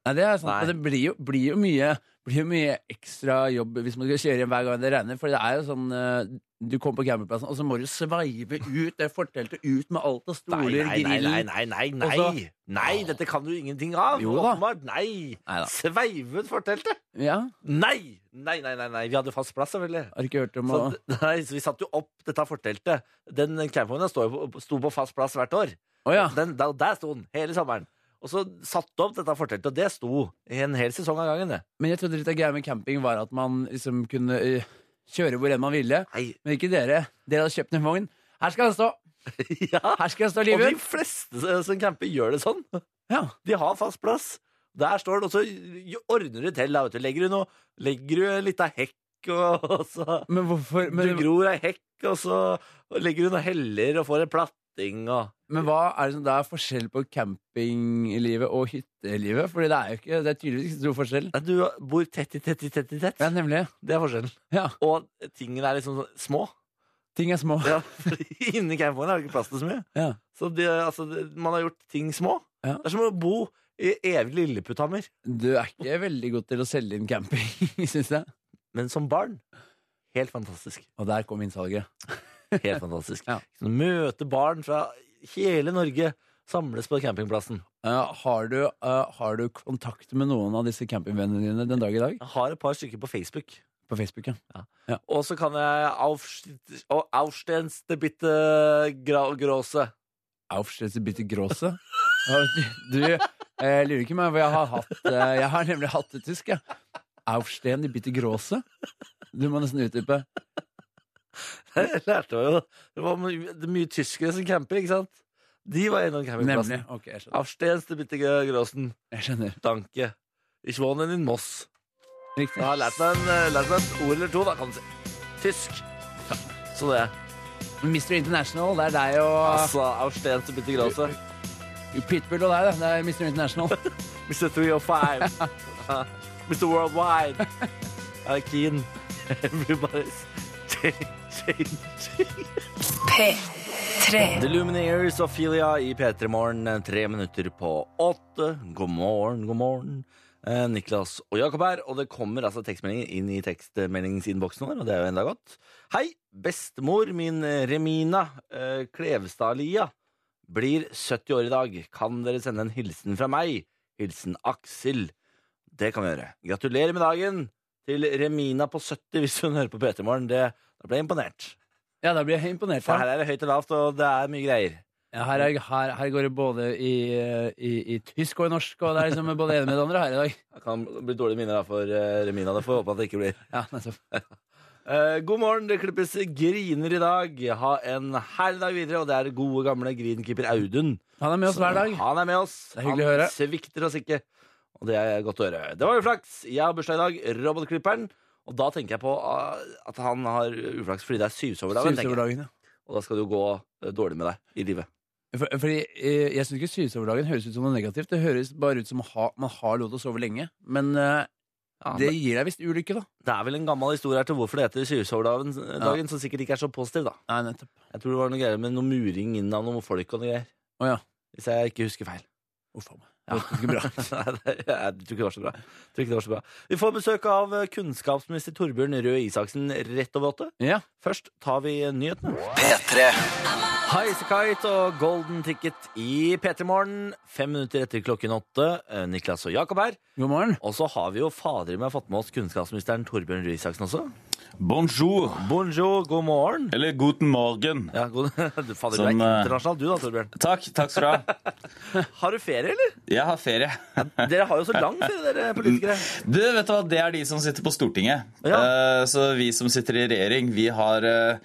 [SPEAKER 4] Nei, det er sant.
[SPEAKER 2] Nei.
[SPEAKER 4] Men det blir jo, blir, jo mye, blir jo mye ekstra jobb hvis man skal kjøre hjem hver gang det regner. For det er jo sånn eh, Du kommer på campingplassen, og så må du sveive ut det forteltet, ut med alt av stoler,
[SPEAKER 2] nei, nei,
[SPEAKER 4] grill
[SPEAKER 2] nei, nei, nei, nei.
[SPEAKER 4] Og så-
[SPEAKER 2] nei dette kan du ingenting av.
[SPEAKER 4] Jo da.
[SPEAKER 2] Åpenbart. Nei.
[SPEAKER 4] Neida.
[SPEAKER 2] Sveive ut forteltet.
[SPEAKER 4] Ja,
[SPEAKER 2] Nei. nei, nei, nei, nei. Vi hadde fast plass, selvfølgelig.
[SPEAKER 4] Har ikke hørt om å
[SPEAKER 2] Så, [LAUGHS] nei, så vi satte jo opp dette forteltet. Den campingvogna sto jo på- sto på fast plass hvert år.
[SPEAKER 4] Å ja.
[SPEAKER 2] Den, der, der sto den hele sommeren. Og så satte du opp dette forteltet, og det sto i en hel sesong av gangen. det.
[SPEAKER 4] Men jeg trodde litt av greia med camping var at man liksom kunne eh, kjøre hvor enn man ville.
[SPEAKER 2] Nei.
[SPEAKER 4] Men ikke dere. Dere hadde kjøpt en vogn. Her skal han stå!
[SPEAKER 2] [LAUGHS] Ja.
[SPEAKER 4] Her skal han stå
[SPEAKER 2] Og
[SPEAKER 4] livet
[SPEAKER 2] de fleste som camper, gjør det sånn.
[SPEAKER 4] Ja.
[SPEAKER 2] De har fast plass. Der står det, og så ordner du til. Da, vet du. Legger du noe Legger du litt av hekk, og, og så
[SPEAKER 4] Men hvorfor
[SPEAKER 2] Du
[SPEAKER 4] men,
[SPEAKER 2] gror ei hekk, og så legger du noe heller og får en platting og
[SPEAKER 4] men hva er det som da er forskjell på campinglivet og hyttelivet? Fordi det er jo ikke Det er tydeligvis ikke stor forskjell.
[SPEAKER 2] Nei, du bor tett i tett i tett i tett.
[SPEAKER 4] Ja, nemlig.
[SPEAKER 2] Det er forskjellen.
[SPEAKER 4] Ja.
[SPEAKER 2] Og tingene er liksom sånn små.
[SPEAKER 4] Ting er små.
[SPEAKER 2] Ja, [LAUGHS] fordi Inni campingvogna er det ikke plass til så mye.
[SPEAKER 4] Ja.
[SPEAKER 2] Så det, altså, det, man har gjort ting små.
[SPEAKER 4] Ja.
[SPEAKER 2] Det er som å bo i evig Lilleputthammer.
[SPEAKER 4] Du er ikke veldig god til å selge inn camping, [LAUGHS] syns jeg.
[SPEAKER 2] Men som barn helt fantastisk.
[SPEAKER 4] Og der kom innsalget.
[SPEAKER 2] Helt fantastisk.
[SPEAKER 4] Ja.
[SPEAKER 2] Så Sånn, Møte barn fra hele Norge samles på campingplassen.
[SPEAKER 4] Eh, har, du, eh, har du kontakt med noen av disse campingvennene dine den dag i dag?
[SPEAKER 2] Jeg har et par stykker på Facebook.
[SPEAKER 4] På Facebook, ja.
[SPEAKER 2] Og så kan jeg aufstens- og aufstens det bitte gra- gråse. [LAUGHS]
[SPEAKER 4] Aufschlitzer-Bitte [LAUGHS] Grosse. Du, eh, lurer ikke meg, for jeg har, hatt, eh, jeg har nemlig hatt det tysk, jeg. Aufstehen i Bitte Grosse. Du må nesten utdype.
[SPEAKER 2] Jeg lærte meg jo det. Det var my det er mye tyskere som camper, ikke sant? De var innom
[SPEAKER 4] Nemlig.
[SPEAKER 2] campingplassen.
[SPEAKER 4] Ok, jeg skjønner.
[SPEAKER 2] Avstens til bitte grossen.
[SPEAKER 4] Jeg skjønner.
[SPEAKER 2] Danke. Ich wohne in Moss.
[SPEAKER 4] Riktig.
[SPEAKER 2] Jeg har lært meg, en, eh, lært meg et ord eller to, da, kan du si. Tysk. Sånn Så det.
[SPEAKER 4] Mr. International, det er deg og
[SPEAKER 2] Altså, Avstens til bitte grosse.
[SPEAKER 4] Pitbull og deg, det. Det er Mr. International.
[SPEAKER 2] Mr. 305. Mr. oh Worldwide. Jeg er keen. Everybody's changing.
[SPEAKER 3] P3
[SPEAKER 2] The Lumineers og Philia i P3 Morgen, eh, tre minutter på åtte. God morgen, god morgen. Eh, Niklas og Jakob her, og det kommer altså tekstmeldinger inn i tekstmeldingsinnboksen vår, og det er jo enda godt. Hei, bestemor min eh, Remina eh, Klevstadlia blir 70 år i dag. Kan dere sende en hilsen fra meg? Hilsen Aksel. Det kan vi gjøre. Gratulerer med dagen til Remina på 70 hvis hun hører på P3 Morgen. Det- Da ble jeg imponert.
[SPEAKER 4] [LAUGHS] Ja, da blir jeg imponert.
[SPEAKER 2] For
[SPEAKER 4] Ja.
[SPEAKER 2] her er det høyt og lavt, og det er mye greier.
[SPEAKER 4] Ja, her, er, her, her går det både i, eh, i, i tysk og i norsk, og det er liksom både det ene med det andre her i dag.
[SPEAKER 2] Det kan bli dårlige minner da for eh, Remina. Det får vi håpe at det ikke blir.
[SPEAKER 4] Ja, nettopp.
[SPEAKER 2] Eh, god morgen, det klippes griner i dag. Ha en herlig dag videre. Og det er gode, gamle grinkeeper Audun.
[SPEAKER 4] Han er med oss hver dag.
[SPEAKER 2] Han er med oss.
[SPEAKER 4] Det er hyggelig å høre.
[SPEAKER 2] Han svikter oss ikke. Og det er godt å høre. Det var uflaks. Jeg har bursdag i dag. Robotklipperen. Og da tenker jeg på ah, at han har uflaks fordi det er syvsoverdagen.
[SPEAKER 4] Syvs
[SPEAKER 2] tenker
[SPEAKER 4] over
[SPEAKER 2] jeg.
[SPEAKER 4] dagen, ja.
[SPEAKER 2] Og da skal det jo gå eh, dårlig med deg i livet.
[SPEAKER 4] For, fordi eh, Jeg syns ikke syvsoverdagen høres ut som noe negativt. Det høres bare ut som ha, man har lov til å sove lenge. Men eh, det
[SPEAKER 2] det,
[SPEAKER 4] gir deg visst ulykke, da.
[SPEAKER 2] det er vel en gammel historie her til hvorfor det heter syvsoverdagen, eh, dagen, som sikkert ikke er så positiv, da.
[SPEAKER 4] Nei, nettopp.
[SPEAKER 2] Jeg tror det var noe greier med noe muring inn av noen folk og noe greier.
[SPEAKER 4] Å ja.
[SPEAKER 2] Hvis jeg ikke husker feil. [LAUGHS]
[SPEAKER 4] Uff a meg. Det gikk ikke bra.
[SPEAKER 2] Nei, det- jeg tror ikke det var så bra. Jeg Tror ikke det var så bra. Vi får besøk av eh, kunnskapsminister Torbjørn Røe Isaksen rett over åtte.
[SPEAKER 4] [LAUGHS] Ja.
[SPEAKER 2] Først tar vi nyhetene.
[SPEAKER 1] P3.
[SPEAKER 2] Highasakite og Golden Ticket i P3 Morgen. Fem minutter etter klokken åtte. Eh, Niklas og Jakob her.
[SPEAKER 4] God morgen.
[SPEAKER 2] Og så har vi jo fader meg fått med oss kunnskapsministeren Torbjørn Røe Isaksen også.
[SPEAKER 5] Bonjour,
[SPEAKER 2] Bonjour, god morgen.
[SPEAKER 5] eller guten morgen.
[SPEAKER 2] Ja, god... [LAUGHS] Du, fader, du er
[SPEAKER 5] Som, eh,
[SPEAKER 2] internasjonal du da, Torbjørn.
[SPEAKER 5] Takk, takk skal du ha.
[SPEAKER 2] Har du ferie, eller?
[SPEAKER 5] [LAUGHS] Jeg har ferie.
[SPEAKER 2] Dere har jo så lang ferie, dere politikere.
[SPEAKER 5] Du, vet du hva, det er de som sitter på Stortinget.
[SPEAKER 2] Ja.
[SPEAKER 5] Eh, Så vi som sitter i regjering, vi har, eh,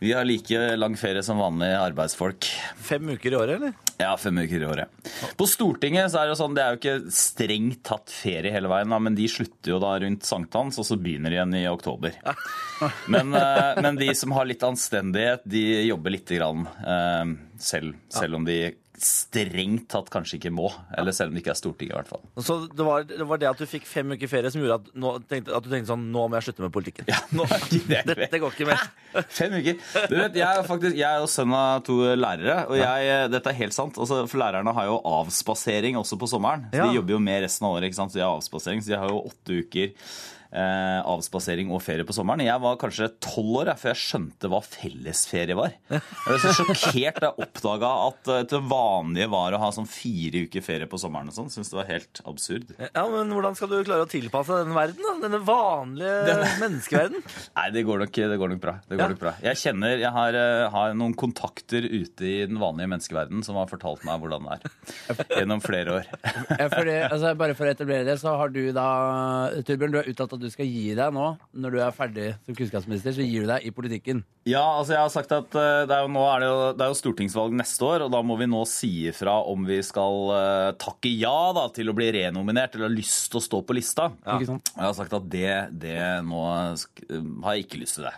[SPEAKER 5] vi har like lang ferie som vanlige arbeidsfolk.
[SPEAKER 2] Fem uker i året, eller?
[SPEAKER 5] Ja, fem uker i året. På Stortinget så er det jo sånn, det er jo ikke strengt tatt ferie hele veien, da, men de slutter jo da rundt sankthans, og så begynner de igjen i oktober. Men, eh, men de som har litt anstendighet, de jobber lite grann eh, selv, selv om de strengt tatt kanskje ikke må. Eller selv om det ikke er Stortinget, i hvert fall.
[SPEAKER 2] Så det var, det var det at du fikk fem uker ferie som gjorde at, nå, tenkte, at du tenkte sånn Nå må jeg slutte med politikken.
[SPEAKER 5] Ja, nå er ikke det
[SPEAKER 2] [LAUGHS] Dette
[SPEAKER 5] kveld.
[SPEAKER 2] går ikke mer.
[SPEAKER 5] [LAUGHS] Fem uker. Du vet, jeg er faktisk jeg er jo sønn av to lærere, og jeg, eh, dette er helt sant. Altså, for lærerne har jo avspasering også på sommeren. Så
[SPEAKER 2] Ja.
[SPEAKER 5] De jobber jo med resten av året, ikke sant? så de har avspasering. Så de har jo åtte uker eh, avspasering og ferie på sommeren. Jeg var kanskje tolv år jeg, før jeg skjønte hva fellesferie var. Jeg ble så sjokkert da jeg oppdaga at eh, det vanlige var å ha sånn fire uker ferie på sommeren og sånn. Syns det var helt absurd.
[SPEAKER 2] Eh, Ja, men hvordan skal du klare å tilpasse deg denne verden? da? Denne vanlige [LAUGHS] menneskeverden?
[SPEAKER 5] Nei, det går nok, det går nok bra. Det går
[SPEAKER 2] Ja.
[SPEAKER 5] nok bra. Jeg kjenner, jeg har, eh, har noen kontakter ute i den vanlige menneskeverden som har fortalt meg hvordan det er. Gjennom flere år. [LAUGHS]
[SPEAKER 4] Ja, for det, altså, bare for å etablere det, så har du da Torbjørn, du har uttalt at du skal gi deg nå. Når du er ferdig som kunnskapsminister, så gir du deg i politikken.
[SPEAKER 5] Ja, altså jeg har sagt at eh, det er, jo, nå er det, jo, det er jo stortingsvalg neste år, og da må vi nå si ifra om vi skal eh, takke ja da, til å bli renominert eller har lyst til å stå på lista.
[SPEAKER 4] Ikke sant?
[SPEAKER 5] Og jeg har sagt at det, det nå sk- eh, har jeg ikke lyst til det.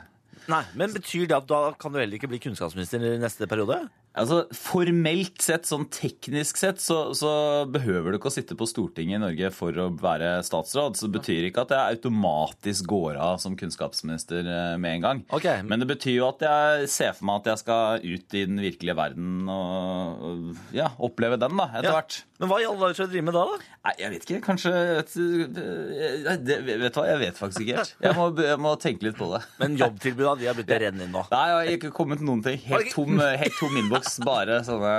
[SPEAKER 2] Nei, men Betyr det at da kan du heller ikke bli kunnskapsminister i neste periode?
[SPEAKER 5] Altså, Formelt sett, sånn teknisk sett, så, så behøver du ikke å sitte på Stortinget i Norge for å være statsråd. Så det betyr ikke at jeg automatisk går av som kunnskapsminister eh, med en gang.
[SPEAKER 2] Ok,
[SPEAKER 5] Men det betyr jo at jeg ser for meg at jeg skal ut i den virkelige verden og og, ja, oppleve den, da, etter
[SPEAKER 2] Ja.
[SPEAKER 5] hvert.
[SPEAKER 2] Men hva i alle dager skal du drive med da? da?
[SPEAKER 5] Nei, jeg vet ikke. Kanskje Vet du eh, det- vet du hva, jeg vet faktisk ikke helt. Jeg må, jeg må tenke litt på det.
[SPEAKER 2] Men jobbtilbudene de har begynt å renne inn nå.
[SPEAKER 5] Nei, jeg har ikke kommet noen ting. Helt tom, helt tom innboks. slags bare sånne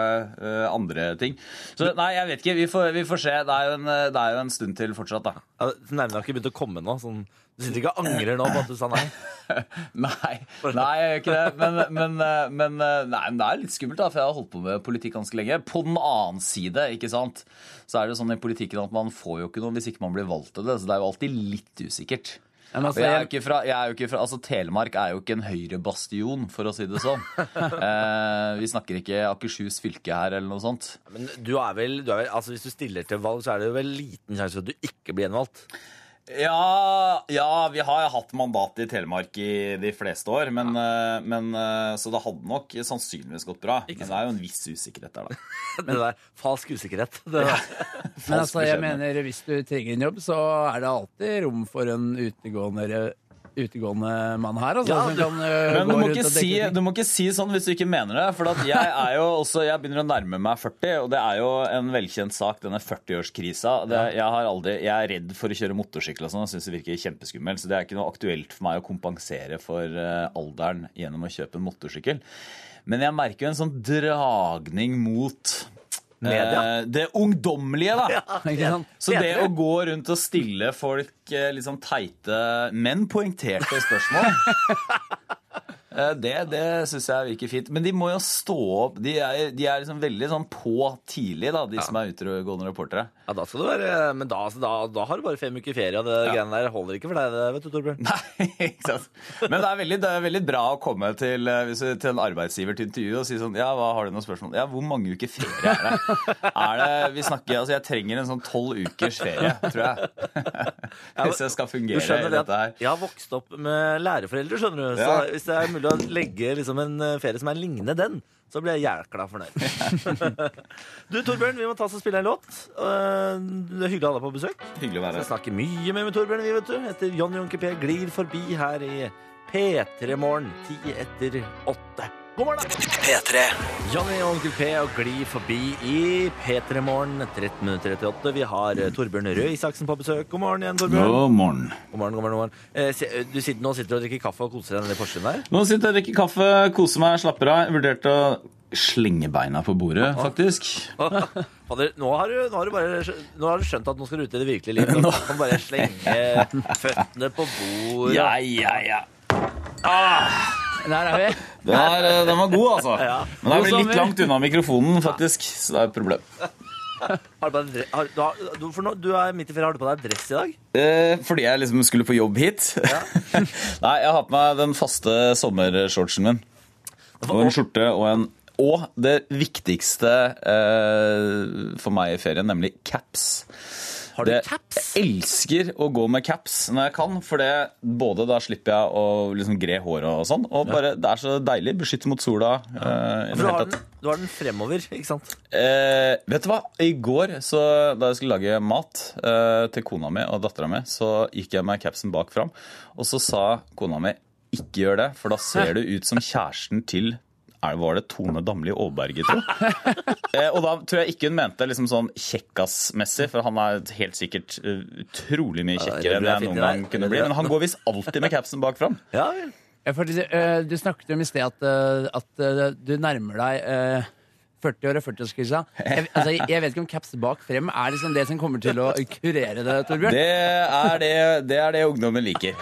[SPEAKER 5] eh, andre ting. Så nei, jeg vet ikke. Vi får, vi får se. Det er, jo en, eh, det er jo en stund til fortsatt, da.
[SPEAKER 2] Ja, Nervene har ikke begynt å komme nå. Sånn. Du sitter ikke og angrer nå på at du sa nei?
[SPEAKER 5] Nei, nei, jeg gjør ikke det. Men, men, eh, men, eh, nei, men det er litt skummelt, da, for jeg har holdt på med politikk ganske lenge. På den annen side, ikke sant, så er det jo sånn i politikken at man får jo ikke noe hvis ikke man blir valgt til det. Så det er jo alltid litt usikkert.
[SPEAKER 4] Ja, men altså,
[SPEAKER 5] Og jeg er jo
[SPEAKER 4] jeg,
[SPEAKER 5] ikke fra, jeg er jo ikke fra altså, Telemark er jo ikke en høyrebastion, for å si det [LAUGHS] sånn. Eh, vi snakker ikke Akershus fylke her, eller noe sånt.
[SPEAKER 2] Men du er vel, du er vel altså Hvis du stiller til valg, så er det jo vel liten sjanse for at du ikke blir gjenvalgt.
[SPEAKER 5] Ja, ja vi har hatt mandat i Telemark i de fleste år, men, eh, men, eh, så det hadde nok sannsynligvis gått bra. Men det er jo en viss usikkerhet der, da.
[SPEAKER 2] Det der, Falsk usikkerhet. Det der.
[SPEAKER 4] men altså, jeg
[SPEAKER 5] beskjed, men.
[SPEAKER 4] mener, hvis du trenger en jobb, så er det alltid rom for en utegående, utegående mann her, altså.
[SPEAKER 2] Ja,
[SPEAKER 4] som
[SPEAKER 2] du-
[SPEAKER 4] kan, eh,
[SPEAKER 5] Men du
[SPEAKER 4] gå
[SPEAKER 5] må,
[SPEAKER 4] rundt og dekke
[SPEAKER 5] ikke si,
[SPEAKER 4] ting.
[SPEAKER 5] du må ikke si sånn hvis du ikke mener det. For at jeg er jo også, jeg begynner å nærme meg 40, og det er jo en velkjent sak, denne 40-årskrisa. Det, jeg, har aldri, jeg er redd for å kjøre motorsykkel og sånn, og syns det virker kjempeskummelt. Så det er ikke noe aktuelt for meg å kompensere for eh, alderen gjennom å kjøpe en motorsykkel. Men jeg merker jo en sånn dragning mot eh,
[SPEAKER 2] Media.
[SPEAKER 5] det ungdommelige, da.
[SPEAKER 4] Ikke sant?
[SPEAKER 5] Så det å gå rundt og stille folk eh, litt sånn teite, men poengterte
[SPEAKER 2] [LAUGHS]
[SPEAKER 5] spørsmål eh, Det, det syns jeg virker fint. Men de må jo stå opp. De er, de er liksom veldig sånn på tidlig, da, de som er utegående reportere. [LAUGHS]
[SPEAKER 2] Ja, da skal du være, Men da, altså, da, da har du bare fem uker ferie, og det greiene der holder ikke for deg. det vet du, Torbjørn.
[SPEAKER 5] Nei, ikke sant. Men det er veldig, det er veldig bra å komme til, eh, hvis du- til en arbeidsgiver til intervju og si sånn Ja, hva har du noen spørsmål? Ja, hvor mange uker ferie er det? Er det vi snakker, altså Jeg trenger en sånn tolv ukers ferie, tror jeg. [LAUGHS] Hvis jeg skal
[SPEAKER 2] Du
[SPEAKER 5] fungere i
[SPEAKER 2] skjønner det
[SPEAKER 5] dette her.
[SPEAKER 2] at Jeg har vokst opp med læreforeldre, skjønner du. Så
[SPEAKER 5] Ja.
[SPEAKER 2] hvis det er mulig å legge liksom, en eh, ferie som er lignende den, så blir jeg jækla fornøyd.
[SPEAKER 5] [LAUGHS]
[SPEAKER 2] du, Torbjørn, vi må ta oss og spille en låt. Eh, Det er hyggelig å ha deg på besøk.
[SPEAKER 5] Hyggelig å være
[SPEAKER 2] Vi
[SPEAKER 5] her.
[SPEAKER 2] snakker mye mer med Torbjørn, vi, vet du. Etter John Junker P glir forbi her i P3 Morgen ti etter åtte. God morgen, da!
[SPEAKER 1] P3.
[SPEAKER 2] Johnny og Onkel P og gli forbi i P3 Morgen 13 minutter etter åtte. Vi har eh, Torbjørn Røe Isaksen på besøk. God morgen igjen, Torbjørn.
[SPEAKER 5] God morgen.
[SPEAKER 2] God morgen, god morgen, god morgen. Eh, se- Du sitter, nå sitter du og drikker kaffe og koser deg nede i Porsgrunn der.
[SPEAKER 5] Nå sitter jeg og drikker kaffe, koser meg, slapper av. Jeg vurderte å slenge beina på bordet, faktisk.
[SPEAKER 2] [LAUGHS] Fader, nå har, du, nå, har du bare, skjø- nå har du skjønt at nå skal du ut i det virkelige [LAUGHS] livet. Nå kan du bare slenge føttene på bordet.
[SPEAKER 5] Ja, ja, ja.
[SPEAKER 4] Der er vi.
[SPEAKER 5] Den, er, eh, den var god, altså. Men da er vi
[SPEAKER 4] God
[SPEAKER 5] litt
[SPEAKER 4] sommer.
[SPEAKER 5] langt unna mikrofonen, faktisk. Så det er et problem.
[SPEAKER 2] Har du, på deg dre- har, du, har, du, for nå, du er midt i ferie. Har du på deg dress i dag?
[SPEAKER 5] Eh, fordi jeg liksom skulle på jobb hit. [LAUGHS] Nei, jeg har på meg den faste sommershortsen min. Og en skjorte og en og det viktigste eh, for meg i ferien, nemlig caps.
[SPEAKER 2] Har du
[SPEAKER 5] Det-
[SPEAKER 2] caps?
[SPEAKER 5] Jeg elsker å gå med caps når jeg kan, for det, både da slipper jeg å liksom gre håret og sånn, og bare, det er så deilig. Beskytte mot sola. eh, i det
[SPEAKER 2] For du
[SPEAKER 5] hele
[SPEAKER 2] har,
[SPEAKER 5] tatt.
[SPEAKER 2] den, du har den fremover, ikke sant?
[SPEAKER 5] Eh, vet du hva? I går, så, da jeg skulle lage mat eh, til kona mi og dattera mi, så gikk jeg med capsen bak fram, og så sa kona mi ikke gjør det, for da ser du ut som kjæresten til er- var det Tone Damli Aaberge, tro?
[SPEAKER 2] [LAUGHS]
[SPEAKER 5] Eh, Og da tror jeg ikke hun mente liksom sånn kjekkas-messig, for han er helt sikkert eh, utrolig mye kjekkere
[SPEAKER 2] det
[SPEAKER 5] enn
[SPEAKER 2] blir
[SPEAKER 5] jeg
[SPEAKER 2] fint,
[SPEAKER 5] noen
[SPEAKER 2] det
[SPEAKER 5] gang
[SPEAKER 2] der.
[SPEAKER 5] kunne bli. Men han går visst alltid med capsen bak fram.
[SPEAKER 2] Ja vel.
[SPEAKER 4] Ja, for du, eh, du snakket om i sted at, eh, at eh, du nærmer deg eh, 40 år og 40-årskrisa. Jeg, altså, jeg- jeg vet ikke om caps bak frem er liksom det som kommer til å kurere det, Torbjørn.
[SPEAKER 5] Det er det, det er det ungdommen
[SPEAKER 2] [LAUGHS]
[SPEAKER 5] liker.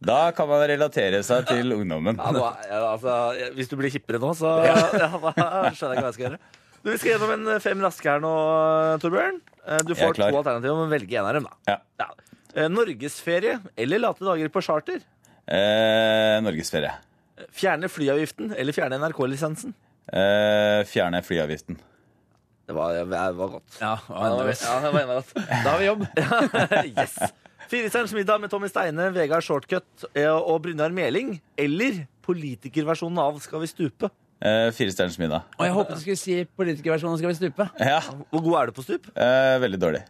[SPEAKER 5] Da kan man relatere seg til ungdommen.
[SPEAKER 2] Ja, da, ja, altså, jeg- hvis du blir hippere nå, så [LAUGHS] ja, da skjønner jeg ikke hva jeg skal gjøre. Du, vi skal gjennom en eh, fem raske her nå, eh, Torbjørn. Eh, Du
[SPEAKER 5] Jeg er
[SPEAKER 2] får to
[SPEAKER 5] klar.
[SPEAKER 2] alternativer, men velge en av dem, da.
[SPEAKER 5] Ja.
[SPEAKER 2] Ja. Eh, Norgesferie eller late dager på charter?
[SPEAKER 5] Eh, Norgesferie.
[SPEAKER 2] Fjerne flyavgiften eller fjerne NRK-lisensen?
[SPEAKER 5] Eh, fjerne flyavgiften.
[SPEAKER 2] Det var, det var godt.
[SPEAKER 4] Ja,
[SPEAKER 2] Ja, det var,
[SPEAKER 4] ja.
[SPEAKER 2] ja, det var enda godt.
[SPEAKER 4] Da har vi jobb.
[SPEAKER 2] [LAUGHS] yes. Firestjerners middag med Tommy Steine, Vegard Shortcut eh, og Brynjar Meling. Eller politikerversjonen av Skal vi stupe?
[SPEAKER 5] Eh, Fire stjerners middag.
[SPEAKER 4] Og jeg håpet du skulle si politikerversjonen skal vi stupe.
[SPEAKER 5] Ja,
[SPEAKER 2] Hvor god er du på stup?
[SPEAKER 5] eh, veldig dårlig.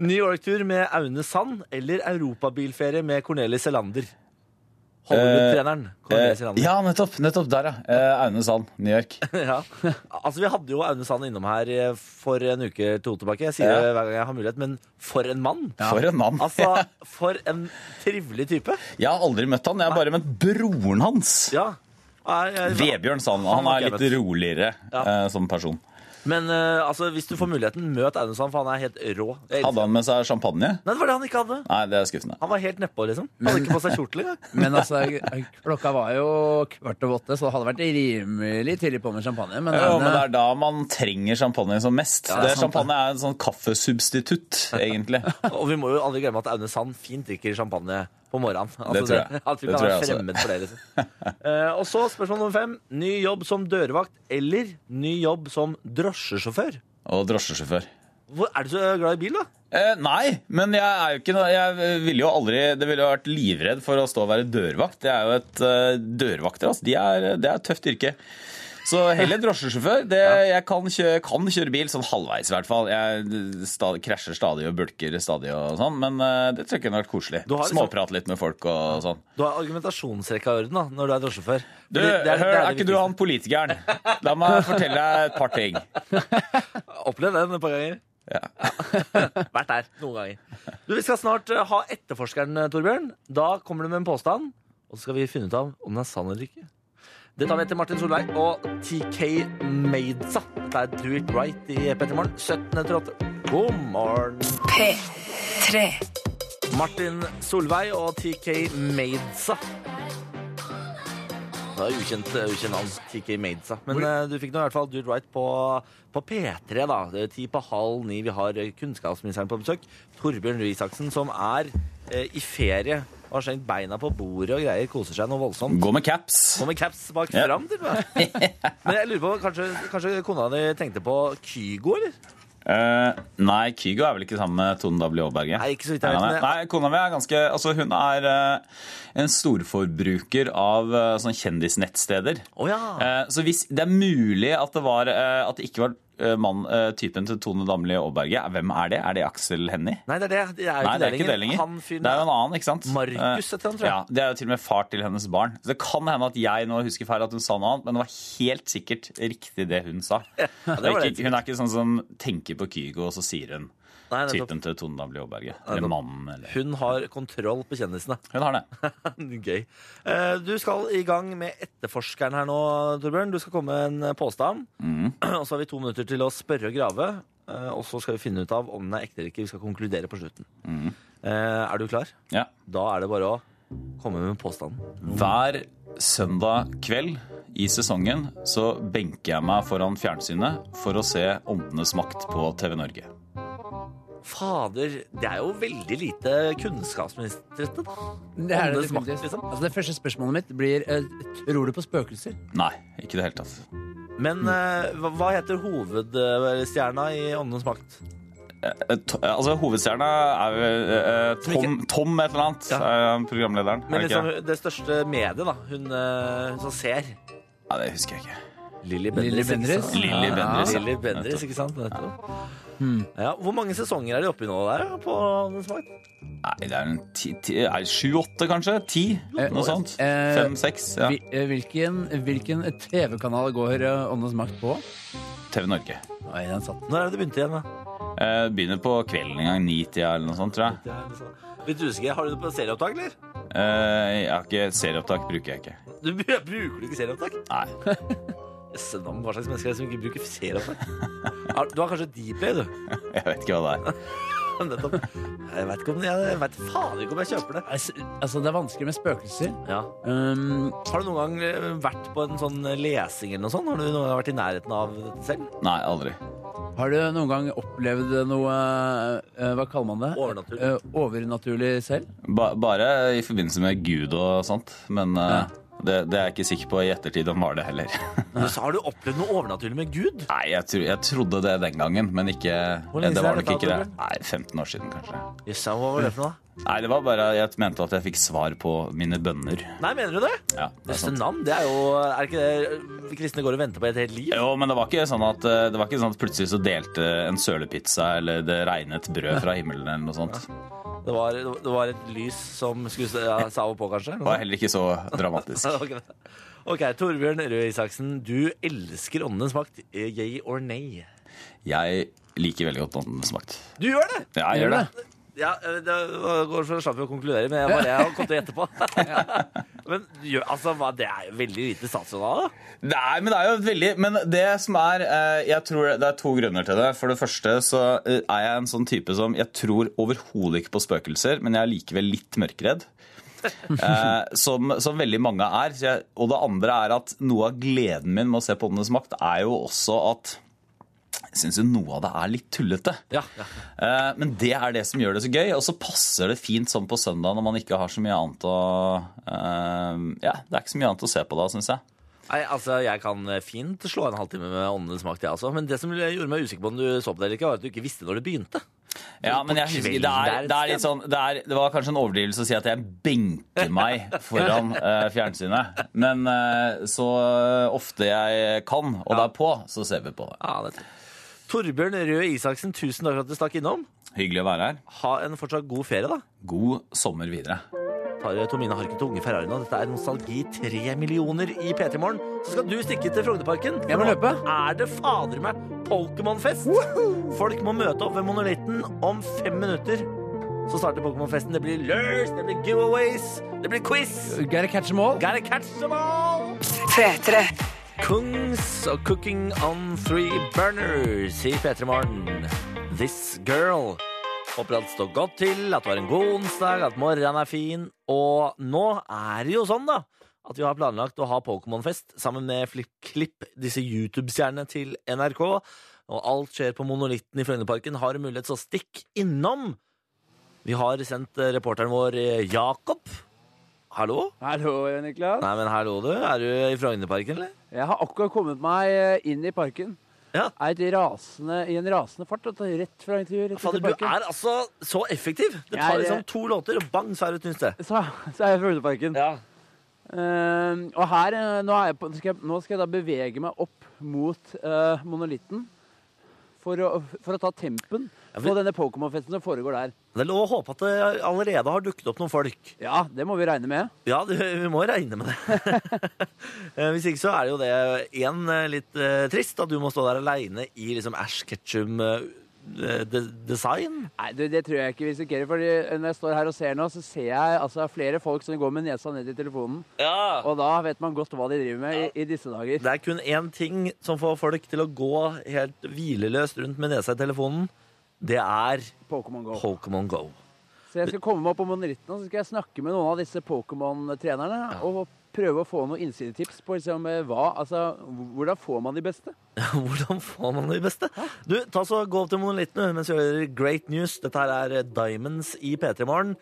[SPEAKER 2] New York-tur med Aune Sand eller europabilferie med Cornelis Elander? Hollywood-treneren
[SPEAKER 5] Eh,
[SPEAKER 2] Cornelis Elander.
[SPEAKER 5] ja, nettopp. nettopp der, ja. Eh, Aune Sand, New York.
[SPEAKER 2] [LAUGHS] ja. Altså, vi hadde jo Aune Sand innom her eh, for en uke to tilbake. Jeg sier
[SPEAKER 5] Ja.
[SPEAKER 2] det hver gang jeg har mulighet, men for en mann!
[SPEAKER 5] [LAUGHS] For en mann.
[SPEAKER 2] Altså, for en trivelig type.
[SPEAKER 5] Jeg har aldri møtt han, jeg har bare møtt broren hans.
[SPEAKER 2] Ja. Nei, jeg-
[SPEAKER 5] Vebjørn Sand. Han
[SPEAKER 2] har
[SPEAKER 5] er
[SPEAKER 2] ikke
[SPEAKER 5] litt
[SPEAKER 2] jeg møtt.
[SPEAKER 5] roligere
[SPEAKER 2] Ja.
[SPEAKER 5] eh, som person.
[SPEAKER 2] Men eh, altså, hvis du får muligheten, møt Aune Sand, for han er helt rå. Jeg elsker
[SPEAKER 5] Hadde
[SPEAKER 2] han.
[SPEAKER 5] han med seg champagne?
[SPEAKER 2] Nei, det var det han ikke hadde.
[SPEAKER 5] Nei, det er skuffende.
[SPEAKER 2] Han var helt nedpå, liksom. Han hadde ikke på seg kjortel engang.
[SPEAKER 4] Men altså, klokka var jo kvart over åtte, så det hadde vært rimelig tidlig på med champagne. Men, øh,
[SPEAKER 5] Jo,
[SPEAKER 4] den,
[SPEAKER 5] men det er da man trenger champagne som mest.
[SPEAKER 4] det er
[SPEAKER 5] det,
[SPEAKER 4] sant,
[SPEAKER 5] champagne er en sånn kaffesubstitutt, egentlig.
[SPEAKER 2] [LAUGHS] Og vi må jo aldri glemme at Aune Sand fint drikker champagne på morgenen. Altså,
[SPEAKER 5] Det tror jeg.
[SPEAKER 2] At vi
[SPEAKER 5] Det
[SPEAKER 2] kan
[SPEAKER 5] tror jeg
[SPEAKER 2] være
[SPEAKER 5] også.
[SPEAKER 2] fremmed for det,
[SPEAKER 5] [LAUGHS]
[SPEAKER 2] liksom. Eh, og så spørsmål nummer fem. Ny jobb som dørvakt eller ny jobb som drosjesjåfør?
[SPEAKER 5] Og drosjesjåfør.
[SPEAKER 2] Hvor er du så glad i bil, da?
[SPEAKER 5] Eh, nei, men jeg er jo ikke noe- Jeg ville jo aldri Det ville jo vært livredd for å stå og være dørvakt. Det er jo et eh, Dørvakter, altså. De er, det er et tøft yrke. Så heller drosjesjåfør. Det, jeg kan kjøre, kan kjøre bil, sånn halvveis i hvert fall. Jeg eh, sta, krasjer stadig og bulker stadig og sånn, men eh, det tror jeg kunne vært koselig.
[SPEAKER 2] Du har liksom-
[SPEAKER 5] Småprate litt med folk og sånn.
[SPEAKER 2] Du har argumentasjonsrekka i orden da, når du er drosjesjåfør.
[SPEAKER 5] Du,
[SPEAKER 2] Fordi det
[SPEAKER 5] hør,
[SPEAKER 2] det
[SPEAKER 5] er
[SPEAKER 2] det
[SPEAKER 5] ikke du han politikeren? La meg fortelle deg et par ting.
[SPEAKER 2] viktigste. Opplevd den et par ganger. [LAUGHS] Vært der noen ganger. Du, vi skal snart eh, ha etterforskeren, eh, Torbjørn. Da kommer du med en påstand, og så skal vi finne ut av om den er sann eller ikke. Det tar vi etter Martin Solveig og TK Maidsa. Dette er Do It Right i P3 Morgen 17 etter 8. God morgen.
[SPEAKER 3] P3.
[SPEAKER 2] Martin Solveig og TK Maidsa. Det er ukjent, ukjent navn, TK Maidsa. Men eh, du fikk nå i hvert fall Dude Right på, på P3, da. Det er ti på halv ni. Vi har eh, kunnskapsministeren på besøk. Torbjørn Røe Isaksen, som er eh, i ferie og har skjenkt beina på bordet og greier. Koser seg noe voldsomt.
[SPEAKER 5] Gå med caps.
[SPEAKER 2] Gå med caps bak
[SPEAKER 5] Ja.
[SPEAKER 2] fram, til og med.
[SPEAKER 5] [LAUGHS]
[SPEAKER 2] Men jeg lurer på, kanskje, kanskje kona di tenkte på Kygo, eller?
[SPEAKER 5] Eh, nei, Kygo er vel ikke sammen med Tone W. Aaberge?
[SPEAKER 2] Nei, ikke så vidt jeg vet,
[SPEAKER 5] Nei, nei,
[SPEAKER 2] men-
[SPEAKER 5] nei. Nei, kona mi er ganske Altså, hun er eh, en storforbruker av eh, sånne kjendisnettsteder.
[SPEAKER 2] Å ja.
[SPEAKER 5] Eh, så hvis det er mulig at det, var, eh, at det ikke var eh, mann, eh, typen til Tone Damli Aaberge, hvem er det? Er det Aksel Hennie?
[SPEAKER 2] Nei, det er det. Det er jo
[SPEAKER 5] Nei, det er ikke det lenger.
[SPEAKER 2] Han fyren
[SPEAKER 5] det er jo en annen, ikke sant?
[SPEAKER 2] Markus
[SPEAKER 5] Eh,
[SPEAKER 2] heter han, tror jeg.
[SPEAKER 5] Ja, Det er jo til og med far til hennes barn. Så Det kan hende at jeg nå husker feil at hun sa noe annet, men det var helt sikkert riktig det hun
[SPEAKER 2] [LAUGHS]
[SPEAKER 5] sa.
[SPEAKER 2] det var
[SPEAKER 5] Og
[SPEAKER 2] det.
[SPEAKER 5] ikke, hun er ikke sånn som tenker på Kygo, og så sier hun
[SPEAKER 2] Nei, nettopp.
[SPEAKER 5] typen til Tone Damli Aaberge. Eller mannen, eller
[SPEAKER 2] Hun har kontroll på kjendisene. [LAUGHS]
[SPEAKER 5] Hun har det.
[SPEAKER 2] Gøy. Eh, Du skal i gang med etterforskeren her nå, Torbjørn. Du skal komme med en påstand.
[SPEAKER 5] Mm.
[SPEAKER 2] [CLEARS THROAT] Og så har vi to minutter til å spørre og grave. eh, Og så skal vi finne ut av om den er ekte eller ikke. Vi skal konkludere på slutten.
[SPEAKER 5] Mm.
[SPEAKER 2] Eh, Er du klar?
[SPEAKER 5] Ja.
[SPEAKER 2] Da er det bare å komme med påstanden.
[SPEAKER 5] Hver søndag kveld i sesongen så benker jeg meg foran fjernsynet for å se Åndenes makt på TV Norge.
[SPEAKER 2] Fader, det er jo veldig lite kunnskapsministrete, da.
[SPEAKER 4] det, er det,
[SPEAKER 2] Åndenes makt,
[SPEAKER 4] definitivt.
[SPEAKER 2] liksom.
[SPEAKER 4] altså, det første spørsmålet mitt blir eh, Tror du på spøkelser?
[SPEAKER 5] Nei, ikke i det hele tatt.
[SPEAKER 2] Men eh, hva hva heter hovedstjerna i Åndenes makt?
[SPEAKER 5] Eh, to- eh, Altså, Hovedstjerna er vel eh, Tom, Tom et eller annet.
[SPEAKER 2] Ja.
[SPEAKER 5] eh, Programlederen.
[SPEAKER 2] Men
[SPEAKER 5] er det ikke
[SPEAKER 2] liksom det største mediet, da. Hun, eh, hun som ser.
[SPEAKER 5] det? Nei, det husker jeg ikke.
[SPEAKER 2] Lilly
[SPEAKER 4] Lilly Bendriss.
[SPEAKER 2] ikke sant?
[SPEAKER 5] Lilly
[SPEAKER 2] Ja,
[SPEAKER 5] Bendriss, ja.
[SPEAKER 2] Lilly Bendriss, ikke sant? Nettopp. Ja, hvor mange sesonger er de oppi nå der? da, På Åndenes makt?
[SPEAKER 5] Nei, det er en ti, ti, er sju-åtte, kanskje? Ti? Noe sånt.
[SPEAKER 4] eh,
[SPEAKER 5] Fem-seks. Ja.
[SPEAKER 4] Hvil- eh, Hvilken, hvilken TV-kanal går eh, Åndenes makt på?
[SPEAKER 5] TV Norge.
[SPEAKER 4] Nei, den satt.
[SPEAKER 2] Når er det det begynte igjen? da?
[SPEAKER 5] Eh, begynner på kvelden en gang. Ni-tida eller noe sånt, tror jeg.
[SPEAKER 2] Det er litt sånn- Litt usikker. Har du det på serieopptak, eller?
[SPEAKER 5] Eh, jeg har ikke Serieopptak bruker jeg ikke.
[SPEAKER 2] Du [LAUGHS] br- Bruker du ikke serieopptak?
[SPEAKER 5] Nei. [LAUGHS]
[SPEAKER 2] Jøssenavn, hva slags mennesker er det som ikke bruker serieopptak? Er- Du har kanskje Dplay, du.
[SPEAKER 5] Jeg vet ikke hva det er.
[SPEAKER 2] [LAUGHS] Nettopp. Jeg vet ikke om jeg, jeg vet fader ikke om jeg kjøper det.
[SPEAKER 4] Altså, altså, det er vanskelig med spøkelser.
[SPEAKER 2] Ja.
[SPEAKER 4] Um,
[SPEAKER 2] Har du noen gang eh, vært på en sånn lesing eller noe sånt? Har du noen gang vært i nærheten av dette selv?
[SPEAKER 5] Nei, aldri.
[SPEAKER 4] har du noen gang opplevd noe eh, Hva kaller man det?
[SPEAKER 2] Overnaturlig.
[SPEAKER 4] Eh, overnaturlig selv?
[SPEAKER 5] Ba bare i forbindelse med Gud og sånt. Men eh, det, det er jeg ikke sikker på i ettertid om var det heller. [LAUGHS]
[SPEAKER 2] Men så har du opplevd noe overnaturlig med Gud?
[SPEAKER 5] Nei, jeg, tro, jeg trodde det den gangen, men ikke
[SPEAKER 2] Hvor lenge
[SPEAKER 5] Det var
[SPEAKER 2] siden er
[SPEAKER 5] nok
[SPEAKER 2] dette,
[SPEAKER 5] ikke det.
[SPEAKER 2] Torbjørn?
[SPEAKER 5] Nei, 15 år siden, kanskje.
[SPEAKER 2] Jøss, hva var det for noe? da?
[SPEAKER 5] Nei, det var bare Jeg mente at jeg fikk svar på mine bønner.
[SPEAKER 2] Nei, mener du det?
[SPEAKER 5] Ja, det er sant.
[SPEAKER 2] Jøssenavn, det er jo Er ikke det eh, kristne går og venter på i et helt liv?
[SPEAKER 5] Jo, men det var ikke sånn at eh, Det var ikke sånn at plutselig så delte en sølepizza eller det regnet brød fra himmelen eller noe sånt.
[SPEAKER 2] Det var, det var et lys som skulle se- ja, sa av og på, kanskje? [LAUGHS]
[SPEAKER 5] Det var heller ikke så dramatisk.
[SPEAKER 2] Ok, Ok, Torbjørn Røe Isaksen, du elsker åndenes makt. Eh, Yay or nay?
[SPEAKER 5] Jeg liker veldig godt Åndenes makt.
[SPEAKER 2] Du gjør det!
[SPEAKER 5] Ja, jeg gjør det.
[SPEAKER 2] Ja, eh, det går så slapp vi å konkludere, men jeg bare jeg kom til å gjette på. [LAUGHS] Men gjør- altså, hva, det er jo veldig lite statsråd da.
[SPEAKER 5] Nei, men det er jo et veldig Men det som er eh, Jeg tror det er to grunner til det. For det første så eh, er jeg en sånn type som Jeg tror overhodet ikke på spøkelser, men jeg er likevel litt mørkredd. Eh, som, som veldig mange er. Så jeg, og det andre er at noe av gleden min med å se på Åndenes makt er jo også at jeg syns jo noe av det er litt tullete.
[SPEAKER 2] Ja, ja.
[SPEAKER 5] Eh, Men det er det som gjør det så gøy. Og så passer det fint sånn på søndag når man ikke har så mye annet å eh, Ja, det er ikke så mye annet å se på da, syns jeg.
[SPEAKER 2] Nei, altså, jeg kan fint slå en halvtime med åndenes makt, jeg også. Men det som gjorde meg usikker på om du så på det eller ikke, var at du ikke visste når det begynte.
[SPEAKER 5] Ja, men jeg husker, det, er, det er litt sånn det, er, det var kanskje en overdrivelse å si at jeg benker meg foran eh, fjernsynet. Men eh, så ofte jeg kan, og det er på, så ser vi på det.
[SPEAKER 2] Ja, det er Torbjørn Røe Isaksen, tusen takk for at du stakk innom.
[SPEAKER 5] Hyggelig å være her.
[SPEAKER 2] Ha en fortsatt god ferie, da.
[SPEAKER 5] God sommer videre.
[SPEAKER 2] tar Tomine Harket og Unge Ferrari nå. Dette er Nostalgi 3 millioner i P3 Morgen. Så skal du stikke til Frognerparken.
[SPEAKER 4] Jeg må
[SPEAKER 2] Nå
[SPEAKER 4] løpe.
[SPEAKER 2] Er det fader meg Pokémon-fest? Folk må møte opp ved Monolitten om fem minutter. Så starter Pokémon-festen. Det blir lures, det blir giveaways, det blir quiz.
[SPEAKER 4] Gotta catch them all.
[SPEAKER 2] Gotta catch them all!
[SPEAKER 3] P3.
[SPEAKER 2] Kungs og Cooking on Three Burners i P3 Morgen. This Girl. Håper alt står godt til, at det var en god onsdag, at morgenen er fin. Og nå er det jo sånn, da, at vi har planlagt å ha Pokémon-fest sammen med Flipp Klipp, disse YouTube-stjernene til NRK. Og alt skjer på Monolitten i Frognerparken. Har du mulighet, så stikk innom! Vi har sendt eh, reporteren vår eh, Jakob. Hallo?
[SPEAKER 4] Hallo, Niklas.
[SPEAKER 2] Nei, men hallo, du. Er du i Frognerparken, eller?
[SPEAKER 4] Jeg har akkurat kommet meg eh, inn i parken.
[SPEAKER 2] Ja.
[SPEAKER 4] Er et rasende, I en rasende fart. vet du. Rett fra intervjuet, rett ut
[SPEAKER 2] Fader,
[SPEAKER 4] i
[SPEAKER 2] du
[SPEAKER 4] parken.
[SPEAKER 2] er altså så effektiv. Det
[SPEAKER 4] Jeg
[SPEAKER 2] tar
[SPEAKER 4] er-
[SPEAKER 2] liksom to låter, og bang, så er du et nytt sted.
[SPEAKER 4] Så, så er jeg i Frognerparken.
[SPEAKER 2] Ja.
[SPEAKER 4] Eh, og her, eh, nå, er jeg på, nå, skal jeg, nå skal jeg da bevege meg opp mot eh, monolitten for å, for å ta tempen
[SPEAKER 2] for-
[SPEAKER 4] på denne Pokémon-festen som foregår der.
[SPEAKER 2] Det er lov å håpe at det allerede har dukket opp noen folk.
[SPEAKER 4] Ja, det må vi regne med.
[SPEAKER 2] Ja, det, vi må regne med det. [LAUGHS] Eh, Hvis ikke så er det jo det én litt eh, trist, at du må stå der aleine i liksom Ash eh, Ketchum-design.
[SPEAKER 4] Nei, du, det tror jeg ikke vi risikerer, for når jeg står her og ser nå, så ser jeg altså, flere folk som går med nesa ned i telefonen.
[SPEAKER 2] ja.
[SPEAKER 4] Og da vet man godt hva de driver med i, i disse dager.
[SPEAKER 2] Det er kun én ting som får folk til å gå helt hvileløst rundt med nesa i telefonen. Det er
[SPEAKER 4] Pokémon Go.
[SPEAKER 2] Pokémon Go.
[SPEAKER 4] Så jeg skal komme meg opp på monolitten og så skal jeg snakke med noen av disse Pokémon-trenerne og prøve å få noen innsidetips på liksom, eh, hva, altså, hvordan får man de beste.
[SPEAKER 2] [LAUGHS] Hvordan får man de beste? Du, ta så Gå opp til monolitten du, mens vi hører Great News. Dette her er eh, Diamonds i P3 Morgen.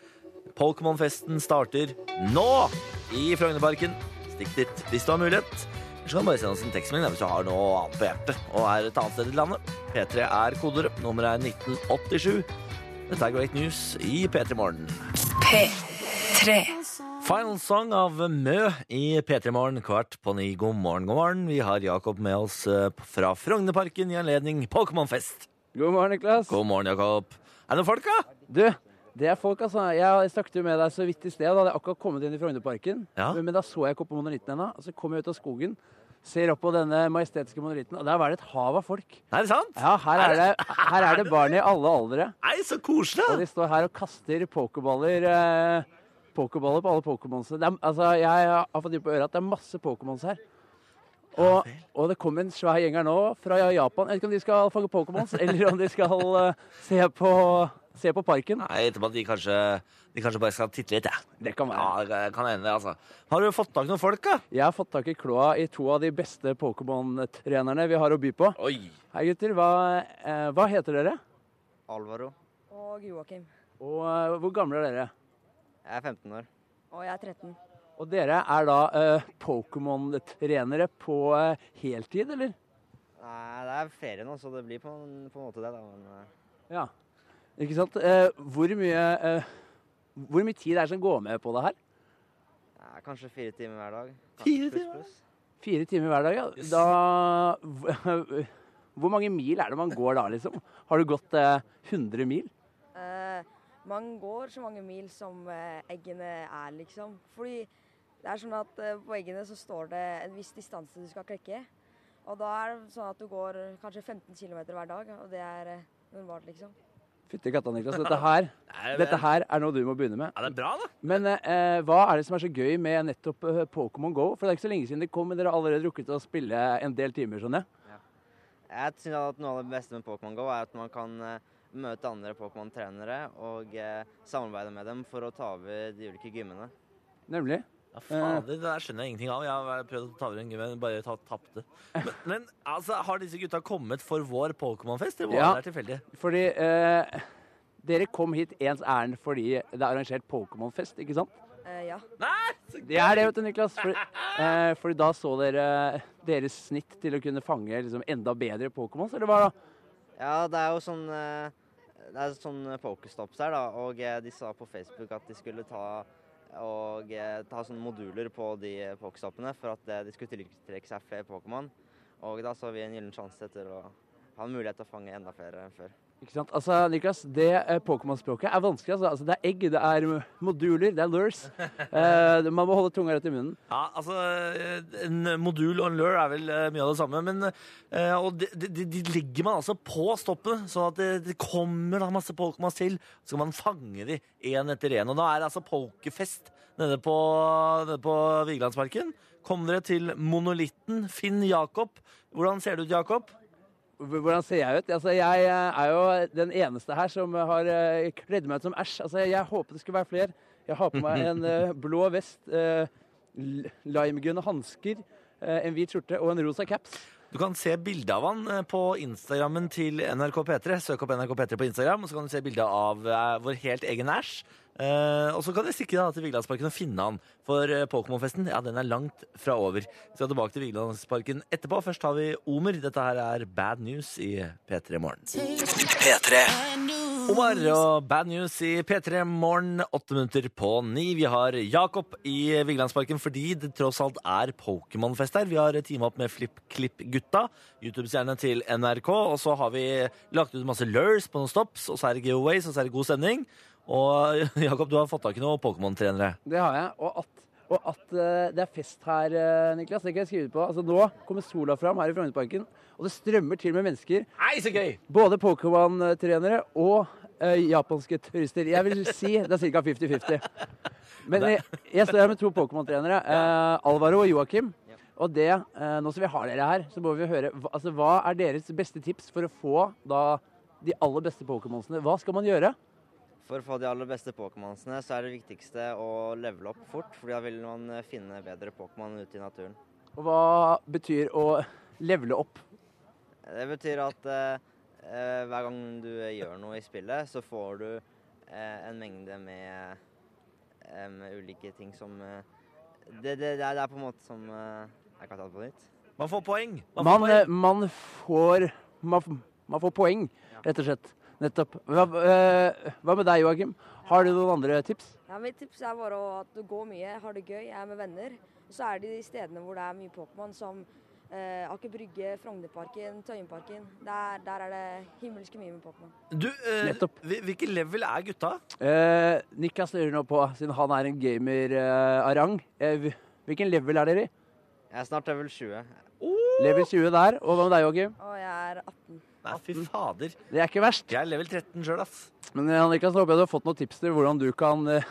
[SPEAKER 2] Pokémon-festen starter nå i Frognerparken. Stikk dit hvis du har mulighet. Eller så kan du bare sende oss en tekstmelding hvis du har noe annet på hjertet og er et annet sted i landet. P3 er kodeordet. Nummeret er 1987. Dette er Great News i P3 Morgen.
[SPEAKER 3] P3.
[SPEAKER 2] Final song av Mø i P3 Morgen kvart på ni. God morgen, god morgen. Vi har Jakob med oss eh, fra Frognerparken i anledning Pokémon-fest.
[SPEAKER 4] God morgen, Niklas.
[SPEAKER 2] God morgen, Jakob. Er det noen folk, da?
[SPEAKER 4] Du, det er folk, altså. Jeg snakket jo med deg så vidt i sted. Da hadde jeg akkurat kommet inn i Frognerparken.
[SPEAKER 2] Ja.
[SPEAKER 4] Men, men da så jeg ikke opp på monolitten ennå. Og så kom jeg ut av skogen, ser opp på denne majestetiske monolitten, og der var det et hav av folk.
[SPEAKER 2] Er det sant?
[SPEAKER 4] Ja, her er det, her er det barn i alle aldre.
[SPEAKER 2] Nei, så koselig!
[SPEAKER 4] Og de står her og kaster pokerballer. Eh, pokerballer på alle pokémonsene. Det er- Altså, jeg har fått inn på øret at det er masse pokémons her. Og, og det kommer en svær gjeng her nå fra Japan. Jeg vet ikke om de skal fange pokémons, eller om de skal eh, se, på, se på parken.
[SPEAKER 2] Nei, jeg etterpå at de kanskje, de kanskje bare skal titte litt, jeg.
[SPEAKER 4] Det kan være.
[SPEAKER 2] Ja, det kan hende det, altså. Har du fått tak i noen folk, da?
[SPEAKER 4] Jeg har fått tak i kloa i to av de beste Pokémon-trenerne vi har å by på.
[SPEAKER 2] Oi.
[SPEAKER 4] Hei, gutter. Hva, eh, hva heter dere?
[SPEAKER 6] Alvaro.
[SPEAKER 7] Og Joakim.
[SPEAKER 4] Og eh, hvor gamle er dere?
[SPEAKER 6] Jeg er 15 år.
[SPEAKER 7] Og jeg er 13.
[SPEAKER 4] Og dere er da eh, Pokémon-trenere på eh, heltid, eller?
[SPEAKER 6] Nei, det er ferie nå, så det blir på en, på en måte det, da. Men eh,
[SPEAKER 4] Ja. Ikke sant? Eh, hvor, mye, eh, hvor mye tid er det som går med på det her?
[SPEAKER 6] det er kanskje fire timer hver dag.
[SPEAKER 2] Fire
[SPEAKER 6] Pluss,
[SPEAKER 2] timer?
[SPEAKER 6] pluss.
[SPEAKER 4] Fire timer hver dag, ja.
[SPEAKER 2] Yes.
[SPEAKER 4] Da Hvor mange mil er det man går da, liksom? Har du gått eh, 100 mil?
[SPEAKER 7] Eh, man går så mange mil som eh, eggene er, liksom. Fordi det er sånn at eh, på eggene så står det en viss distanse du skal klekke. Og da er det sånn at du går kanskje 15 km hver dag, og det er eh, normalt, liksom.
[SPEAKER 4] Fytti katta, Niklas.
[SPEAKER 2] [LAUGHS]
[SPEAKER 4] Dette her,
[SPEAKER 2] Nei, men-
[SPEAKER 4] dette her er noe du må begynne med.
[SPEAKER 2] Ja, det er bra, da.
[SPEAKER 4] Men eh, hva er det som er så gøy med nettopp eh, Pokémon Go? For det er ikke så lenge siden det kom, men dere har allerede rukket å spille en del timer, skjønner jeg.
[SPEAKER 6] Jeg synes at Noe av det beste med Pokémon GO er at man kan eh, møte andre Pokémon-trenere og eh, samarbeide med dem for å ta over de ulike gymmene.
[SPEAKER 4] Nemlig.
[SPEAKER 2] Ja, fader, det der skjønner jeg ingenting av. Jeg har prøvd å ta over en gym, men bare ta- tapte. Men, men altså, har disse gutta kommet for vår Pokémon-fest? eller var
[SPEAKER 4] Ja.
[SPEAKER 2] Det er tilfeldig.
[SPEAKER 4] Fordi eh, dere kom hit ens ærend fordi det er arrangert Pokémon-fest, ikke sant?
[SPEAKER 7] Eh, ja.
[SPEAKER 4] Det er det, vet du, Niklas. Fordi, eh, fordi da så dere eh, deres snitt til å kunne fange liksom, enda bedre Pokémons, eller hva da?
[SPEAKER 6] Ja, det er jo sånn eh, Det er sånn pokestops her, da, og eh, de sa på Facebook at de skulle ta og eh, ta sånne moduler på de pokestoppene for at eh, de skulle tiltrekke seg flere Pokémon. Og da så vi en gyllen sjanse til å ha en mulighet til å fange enda flere enn før.
[SPEAKER 4] Ikke sant? Altså, Niklas, det eh, Pokémon-språket er vanskelig. Altså. altså. Det er egg, det er eh, moduler, det er lures. Eh, man må holde tunga rett i munnen.
[SPEAKER 2] Ja, altså, eh, en modul og en lure er vel eh, mye av det samme, men eh, og de, de, de legger man altså på stoppene, sånn at det, det kommer da masse Pokémons til, så kan man fange de en etter en. Og da er det altså Pokefest nede på, nede på Vigelandsparken. Kom dere til monolitten Finn Jakob. Hvordan ser det ut, Jakob?
[SPEAKER 4] H- Hvordan ser jeg ut? Altså, jeg eh, er jo den eneste her som har eh, kledd meg ut som æsj. Altså, jeg håper det skulle være flere. Jeg har på meg en eh, blå vest, eh, l- limegrønne hansker, eh, en hvit skjorte og en rosa caps.
[SPEAKER 2] Du kan se bilde av han eh, på Instagrammen til NRK P3. Søk opp NRK P3 på Instagram, og så kan du se bilde av eh, vår helt egen Æsj. Eh, og så kan du stikke deg da til Vigelandsparken og finne han. For eh, Pokémon-festen ja, den er langt fra over. Vi skal tilbake til Vigelandsparken etterpå. Først har vi Omer. Dette her er Bad News i P3 Morgen.
[SPEAKER 1] P3.
[SPEAKER 2] Omar og Bad News i P3 Morgen, åtte minutter på ni. Vi har Jakob i Vigelandsparken fordi det tross alt er Pokémon-fest her. Vi har teamet opp med FlippKlipp-gutta, YouTube-stjerne til NRK. Og så har vi lagt ut masse lures på noen stops, og så er det giveaways, og så er det god stemning. Og [LAUGHS] Jakob, du har fått tak i noen Pokémon-trenere.
[SPEAKER 4] Det har jeg. Og at, og at eh, det er fest her, eh, Niklas, det kan jeg skrive på. Altså, nå kommer sola fram her i Frognerparken, og det strømmer til med mennesker.
[SPEAKER 2] Nei, så gøy!
[SPEAKER 4] Både Pokémon-trenere og eh, japanske turister. Jeg vil si det er ca. 50-50. Men jeg, jeg står her med to Pokémon-trenere, eh, Alvaro og Joakim. Og det, eh, nå som vi har dere her, så må vi høre hva, altså, hva er deres beste tips for å få da, de aller beste Pokémonsene? Hva skal man gjøre?
[SPEAKER 6] For å få de aller beste Pokémonsene, så er det viktigste å levele opp fort, for da vil man eh, finne bedre Pokémon ute i naturen.
[SPEAKER 4] Og hva betyr å levele opp?
[SPEAKER 6] Det betyr at eh, eh, hver gang du eh, gjør noe i spillet, så får du eh, en mengde med, eh, med ulike ting som eh, det, det, det, er, det er på en måte som eh, Jeg kan ta det på nytt.
[SPEAKER 2] Man får poeng. Man får
[SPEAKER 4] Man, eh,
[SPEAKER 2] poeng.
[SPEAKER 4] man, får, man, f- man får poeng, rett og slett. Nettopp. Hva, eh, hva med deg, Joakim? Har du noen andre tips?
[SPEAKER 7] ja mitt tips er bare å- at du går mye, har det gøy, er med venner. Og så er det de stedene hvor det er mye Pokémon, som eh, Aker Brygge, Frognerparken, Tøyenparken. Der, der er det himmelske mye med Pokémon.
[SPEAKER 2] Du, eh,
[SPEAKER 4] Nettopp.
[SPEAKER 2] hvil- hvilke level er gutta?
[SPEAKER 4] Eh, Niklas lurer nå på, siden han er en gamer eh, av rang, eh, hv- hvilken level er dere i?
[SPEAKER 6] Jeg er snart level 20.
[SPEAKER 4] Level 20 der. Og hva med deg, Joakim?
[SPEAKER 7] Og jeg er 18.
[SPEAKER 2] Nei, fy fader.
[SPEAKER 4] Det er ikke verst.
[SPEAKER 2] Jeg er level 13 sjøl, ass.
[SPEAKER 4] Men eh, Niklas, håper jeg du har fått noen tips til hvordan du kan eh,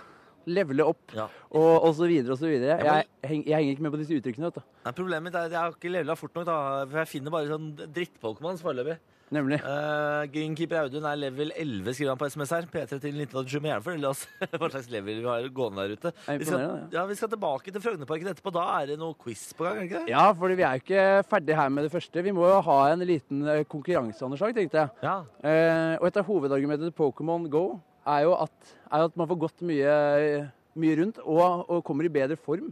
[SPEAKER 4] levele opp
[SPEAKER 2] Ja.
[SPEAKER 4] og, og så videre og så videre.
[SPEAKER 2] Jeg må-
[SPEAKER 4] Jeg, heng, jeg henger ikke med på disse uttrykkene, vet du.
[SPEAKER 2] Nei, problemet mitt er at jeg har ikke levela fort nok, da. For jeg finner bare sånn dritt-Pokémons foreløpig.
[SPEAKER 4] Nemlig.
[SPEAKER 2] Eh, Greenkeeper Audun er level 11, skriver han på SMS her. P3 til 1987. Men gjerne fortell oss [LAUGHS] hva slags level vi har gående der ute.
[SPEAKER 4] er
[SPEAKER 2] Vi skal,
[SPEAKER 4] imponerende,
[SPEAKER 2] ja, vi skal tilbake til Frognerparken etterpå. Da er det noe quiz på gang, er det ikke det?
[SPEAKER 4] Ja, fordi vi er jo ikke ferdig her med det første. Vi må jo ha en liten eh, konkurranse, Anders Hag, tenkte jeg.
[SPEAKER 2] Ja.
[SPEAKER 4] Eh, og et av hovedargumentene til Pokémon Go er jo at, er jo at man får gått mye, mye rundt og, og kommer i bedre form.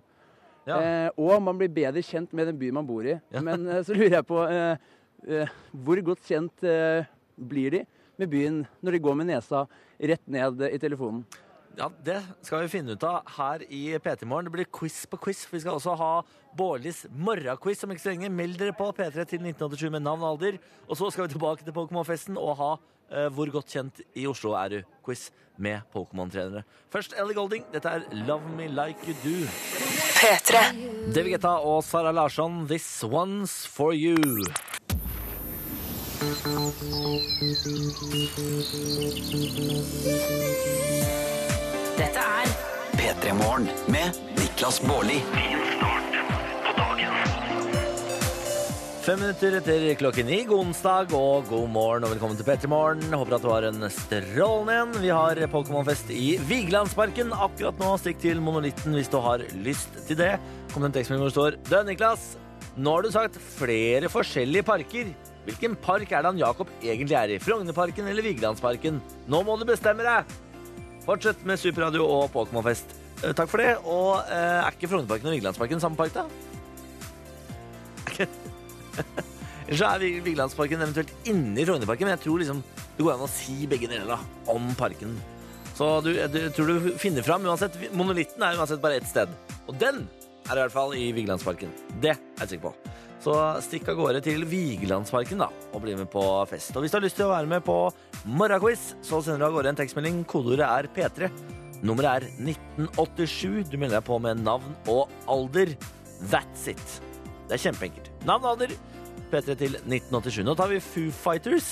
[SPEAKER 2] Ja.
[SPEAKER 4] Eh, og man blir bedre kjent med den byen man bor i. Men eh, så lurer jeg på eh, eh, hvor godt kjent eh, blir de med byen når de går med nesa rett ned i telefonen?
[SPEAKER 2] ja, det skal vi finne ut av her i P3 Morgen. Det blir quiz på quiz. Vi skal også ha Bårlis morgenquiz om ikke så lenge. Meld dere på P3 til 1987 med navn og alder. Og så skal vi tilbake til Pokémon-festen og ha eh, Hvor godt kjent i Oslo er du?-quiz med Pokémon-trenere. Først Ellie Golding. Dette er Love Me Like You Do.
[SPEAKER 3] P3.
[SPEAKER 2] David Guetta og Sara Larsson, 'This One's For You'.
[SPEAKER 8] Dette er
[SPEAKER 1] P3 Morgen med Niklas Baarli.
[SPEAKER 2] Fem minutter etter klokken ni, god onsdag og god morgen og velkommen til P3 Morgen. Håper at du har en strålende en. Vi har Pokémon-fest i Vigelandsparken akkurat nå. Stikk til Monolitten hvis du har lyst til det. Kom til en tekstmelding hvor det står Dø, Niklas. Nå har du sagt flere forskjellige parker. Hvilken park er det han Jakob egentlig er i? Frognerparken eller Vigelandsparken? Nå må du bestemme deg! Fortsett med Superradio og Pokémon-fest. Eh, Takk for det. Og eh, er ikke Frognerparken og Vigelandsparken samme park, da? Ellers så er Vig- Vigelandsparken eventuelt inni Frognerparken, men jeg tror liksom det går an å si begge deler da, om parken. Så du, du jeg tror du finner fram uansett. Monolitten er uansett bare ett sted. Og den er i hvert fall i Vigelandsparken. Det er jeg sikker på. Så stikk av gårde til Vigelandsparken da, og bli med på fest. Og hvis du har lyst til å være med på morgenquiz, så sender du av gårde en tekstmelding. Kodeordet er P3. Nummeret er 1987. Du melder deg på med navn og alder. That's it. Det er kjempeenkelt. Navn og alder. P3 til 1987. Nå tar vi Foo Fighters.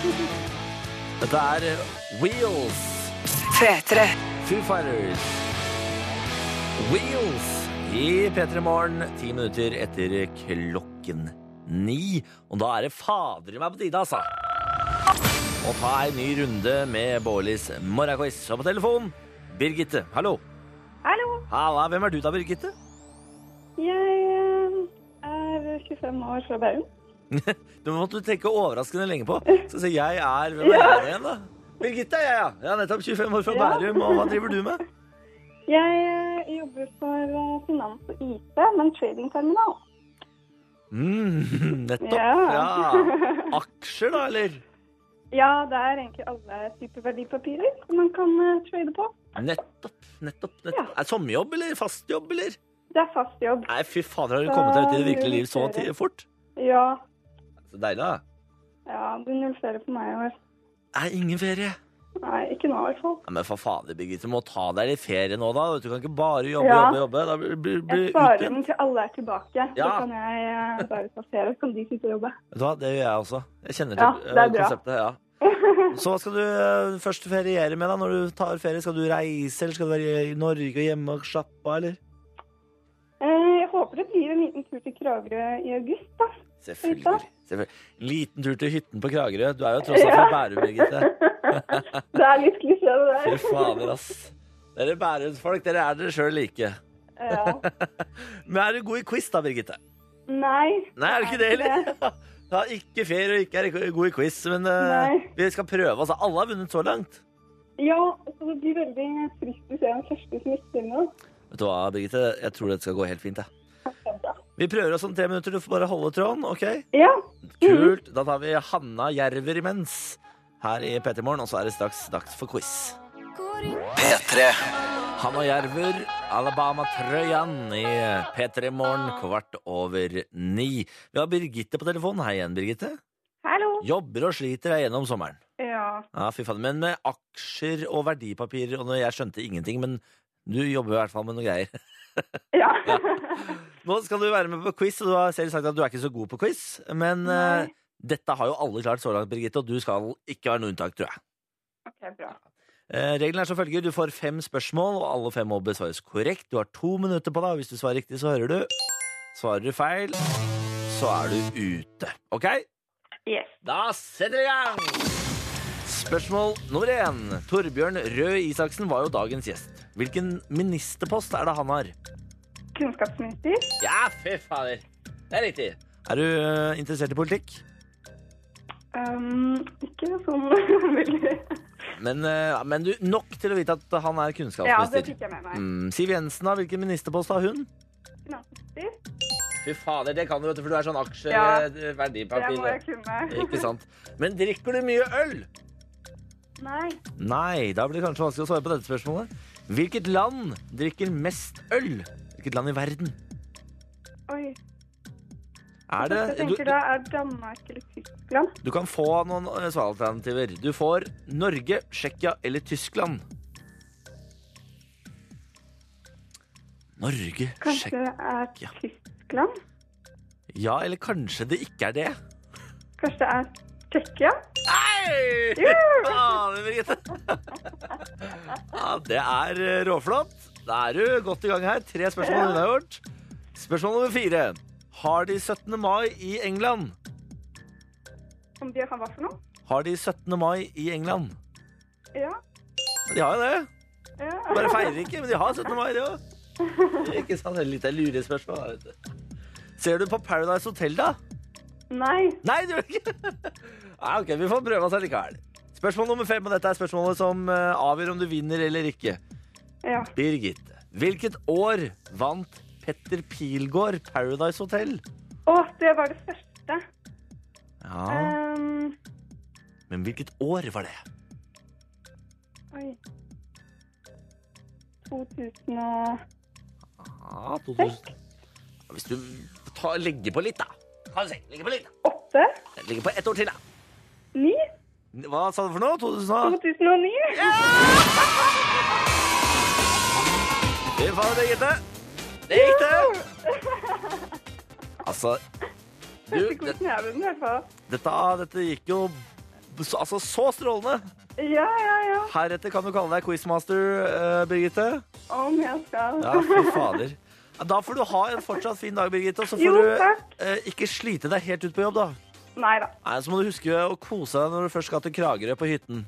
[SPEAKER 2] [LAUGHS] Dette er eh, Wheels.
[SPEAKER 3] P3.
[SPEAKER 2] Foo Fighters. Wheels i P3 Morgen, ti minutter etter klokken ni. Og da er det fader i meg på tide, altså. Og ta en ny runde med Bårlis morgenquiz. Og på telefon, Birgitte. Hallo.
[SPEAKER 9] Hallo.
[SPEAKER 2] Halla, hvem er du da, Birgitte?
[SPEAKER 9] Jeg eh, er 25 år fra Bærum.
[SPEAKER 2] Du måtte tenke overraskende lenge på. Så sier jeg er Hvem er jeg igjen, da? Birgitte er jeg, ja. Jeg er nettopp 25 år fra
[SPEAKER 9] Ja.
[SPEAKER 2] Bærum, og hva driver du med?
[SPEAKER 9] Jeg eh, jobber for eh, finans og IT, men tradingterminal.
[SPEAKER 2] Mm, [LAUGHS] nettopp.
[SPEAKER 9] Ja.
[SPEAKER 2] Ja. Aksjer, da, eller?
[SPEAKER 9] [LAUGHS] Ja, det er egentlig alle typer verdipapirer som man kan eh, trade på.
[SPEAKER 2] Nettopp. nettopp, nettopp. Er det sommerjobb, eller fast jobb, eller?
[SPEAKER 9] Det er fast jobb.
[SPEAKER 2] Nei, fy fader, har du kommet deg ut i det virkelige liv så ti- fort?
[SPEAKER 9] Ja,
[SPEAKER 2] Så deilig, da.
[SPEAKER 9] ja du nullfører på meg i år.
[SPEAKER 2] Er ingen ferie.
[SPEAKER 9] Nei, ikke nå i hvert fall.
[SPEAKER 2] Nei, men for fader, Birgitte, må ta deg litt ferie nå, da. Du kan ikke bare jobbe,
[SPEAKER 9] Ja.
[SPEAKER 2] jobbe, jobbe. Da blir, blir, blir
[SPEAKER 9] Jeg sparer
[SPEAKER 2] utbrent.
[SPEAKER 9] den til alle er tilbake. Så
[SPEAKER 2] Ja.
[SPEAKER 9] kan jeg eh, bare ta ferie, så kan de sitte og jobbe.
[SPEAKER 2] Vet du hva, det gjør jeg også. Jeg kjenner
[SPEAKER 9] Ja,
[SPEAKER 2] til
[SPEAKER 9] det er
[SPEAKER 2] eh,
[SPEAKER 9] bra.
[SPEAKER 2] konseptet. ja. Så hva skal du eh, først feriere med, da? Når du tar ferie, skal du reise, eller skal du være i Norge og hjemme og slappe av, eller?
[SPEAKER 9] Eh, Jeg håper det blir en liten tur til Kragerø i august, da.
[SPEAKER 2] Selvfølgelig. Selvfølgelig. Liten tur til hytten på Kragerø. Du er jo tross alt fra Bærum,
[SPEAKER 9] [LAUGHS]
[SPEAKER 2] Birgitte.
[SPEAKER 9] Det er litt klisjé, det
[SPEAKER 2] Fy
[SPEAKER 9] der.
[SPEAKER 2] fader, ass. Dere Bærumsfolk, dere er dere sjøl like.
[SPEAKER 9] Ja.
[SPEAKER 2] Men er du god i quiz, da, Birgitte?
[SPEAKER 9] Nei.
[SPEAKER 2] Nei, er du ikke det, eller? [LAUGHS] Ja, ikke fair og ikke er god i quiz, men eh,
[SPEAKER 9] Nei.
[SPEAKER 2] vi skal prøve. Altså, alle har vunnet så langt.
[SPEAKER 9] Ja, altså, det blir veldig friskt å se den første som ikke nå.
[SPEAKER 2] Vet du hva, Birgitte? Jeg tror dette skal gå helt fint. Jeg. Vi prøver oss om tre minutter. Du får bare holde tråden. ok?
[SPEAKER 9] Ja.
[SPEAKER 2] Kult. Da tar vi Hanna Jerver imens her i P3 Morgen, og så er det straks dags for quiz.
[SPEAKER 1] P3.
[SPEAKER 2] Hanna Jerver, Alabama-trøyan i P3 Morgen kvart over ni. Vi har Birgitte på telefonen. Hei igjen, Birgitte.
[SPEAKER 9] Hallo.
[SPEAKER 2] Jobber og sliter deg gjennom sommeren.
[SPEAKER 9] Ja.
[SPEAKER 2] Ja, fy faen. Men med aksjer og verdipapirer og noe- jeg skjønte ingenting, men du jobber i hvert fall med noen greier.
[SPEAKER 9] Ja.
[SPEAKER 2] Nå skal du være med på quiz, og du har selv sagt at du er ikke så god på quiz. Men
[SPEAKER 9] Nei.
[SPEAKER 2] eh, dette har jo alle klart så langt, Birgitte, og du skal ikke være noe unntak, tror jeg.
[SPEAKER 9] [LAUGHS] Ok, bra.
[SPEAKER 2] Eh, Regelen er som følger. Du får fem spørsmål, og alle fem må besvares korrekt. Du har to minutter på deg, og hvis du svarer riktig, så hører du. Svarer du feil, så er du ute. OK?
[SPEAKER 9] Yes.
[SPEAKER 2] Da setter vi i gang! Spørsmål nummer én. Torbjørn Røe Isaksen var jo dagens gjest. Hvilken ministerpost er det han har?
[SPEAKER 9] Kunnskapsminister.
[SPEAKER 2] Ja, fy fader. Det er riktig. Er du eh, interessert i politikk?
[SPEAKER 9] Um, ikke [LAUGHS] sånn veldig.
[SPEAKER 2] Men, eh, men du, nok til å vite at han er
[SPEAKER 9] Ja, det
[SPEAKER 2] kunnskapsminister.
[SPEAKER 9] fikk jeg med meg.
[SPEAKER 2] mm, Siv Jensen, da. Hvilken ministerpost har hun?
[SPEAKER 9] Finansminister.
[SPEAKER 2] Fy fader, det kan du, vet du, for du er sånn
[SPEAKER 9] Ja. Det må jeg
[SPEAKER 2] aksjeverdipapir.
[SPEAKER 9] kunne.
[SPEAKER 2] Ikke sant. Men drikker du mye øl?
[SPEAKER 9] Nei.
[SPEAKER 2] Nei, da blir det kanskje vanskelig å svare på dette spørsmålet. Hvilket land drikker mest øl? Hvilket land i verden?
[SPEAKER 9] Oi.
[SPEAKER 2] Er det
[SPEAKER 9] Jeg
[SPEAKER 2] du,
[SPEAKER 9] tenker da er Danmark eller Tyskland.
[SPEAKER 2] du kan få noen eh, svaralternativer. Du får Norge, Tsjekkia eller Tyskland. Norge,
[SPEAKER 9] Kanskje
[SPEAKER 2] Tsjekkia
[SPEAKER 9] det er Tyskland.
[SPEAKER 2] Ja, eller kanskje det ikke er det.
[SPEAKER 9] Kanskje det er Tsjekkia?
[SPEAKER 2] Hei! [LAUGHS]
[SPEAKER 9] Jo!
[SPEAKER 2] Ah, men Birgitte. Ja, det er eh, råflott. Da er du godt i gang her. Tre spørsmål hun har gjort. Spørsmål nummer fire. Har de 17. mai i England?
[SPEAKER 9] Om de har hva for noe?
[SPEAKER 2] Har de 17. mai i England?
[SPEAKER 9] Ja.
[SPEAKER 2] De har jo det.
[SPEAKER 9] ja.
[SPEAKER 2] Bare feirer ikke, men de har 17. mai, de òg. Ikke sant? Det er Litt av lurespørsmål. da, vet du. Ser du på Paradise Hotel, da?
[SPEAKER 9] Nei.
[SPEAKER 2] Nei, det gjør det ikke. Nei, ok, Vi får prøve oss her likevel. Spørsmål nummer fem, og dette er spørsmålet som eh, avgjør om du vinner eller ikke.
[SPEAKER 9] Ja.
[SPEAKER 2] Birgitte, hvilket år vant Petter Pilgaard Paradise Hotel?
[SPEAKER 9] Å, det var det første.
[SPEAKER 2] Ja,
[SPEAKER 9] Um,
[SPEAKER 2] Men hvilket år var det?
[SPEAKER 9] oi. 2000 og...
[SPEAKER 2] Ja, 2000. Ja, Hvis du tar, legger på litt, da. Kan du se, legger på litt. da.
[SPEAKER 9] Åtte?
[SPEAKER 2] Legger på ett år til, da.
[SPEAKER 9] Ni?
[SPEAKER 2] Hva sa du for noe? 2000 og...
[SPEAKER 9] 2009?
[SPEAKER 2] Vi faller, Birgitte. Det gikk det. Altså, du,
[SPEAKER 9] Ikke god
[SPEAKER 2] det,
[SPEAKER 9] kneven, i hvert fall.
[SPEAKER 2] Dette, ah, dette gikk jo så, altså, så strålende.
[SPEAKER 9] Ja, ja, ja.
[SPEAKER 2] Heretter kan du kalle deg quizmaster, eh, Birgitte.
[SPEAKER 9] Om jeg skal.
[SPEAKER 2] Ja, fy fader. Ja, Da får du ha en fortsatt fin dag, Birgitte. Og så får
[SPEAKER 9] Jo,
[SPEAKER 2] du
[SPEAKER 9] takk.
[SPEAKER 2] eh, ikke slite deg helt ut på jobb, da.
[SPEAKER 9] [LAUGHS] Nei da.
[SPEAKER 2] Nei, Så må du huske å kose deg når du først skal til Kragerø på hytten.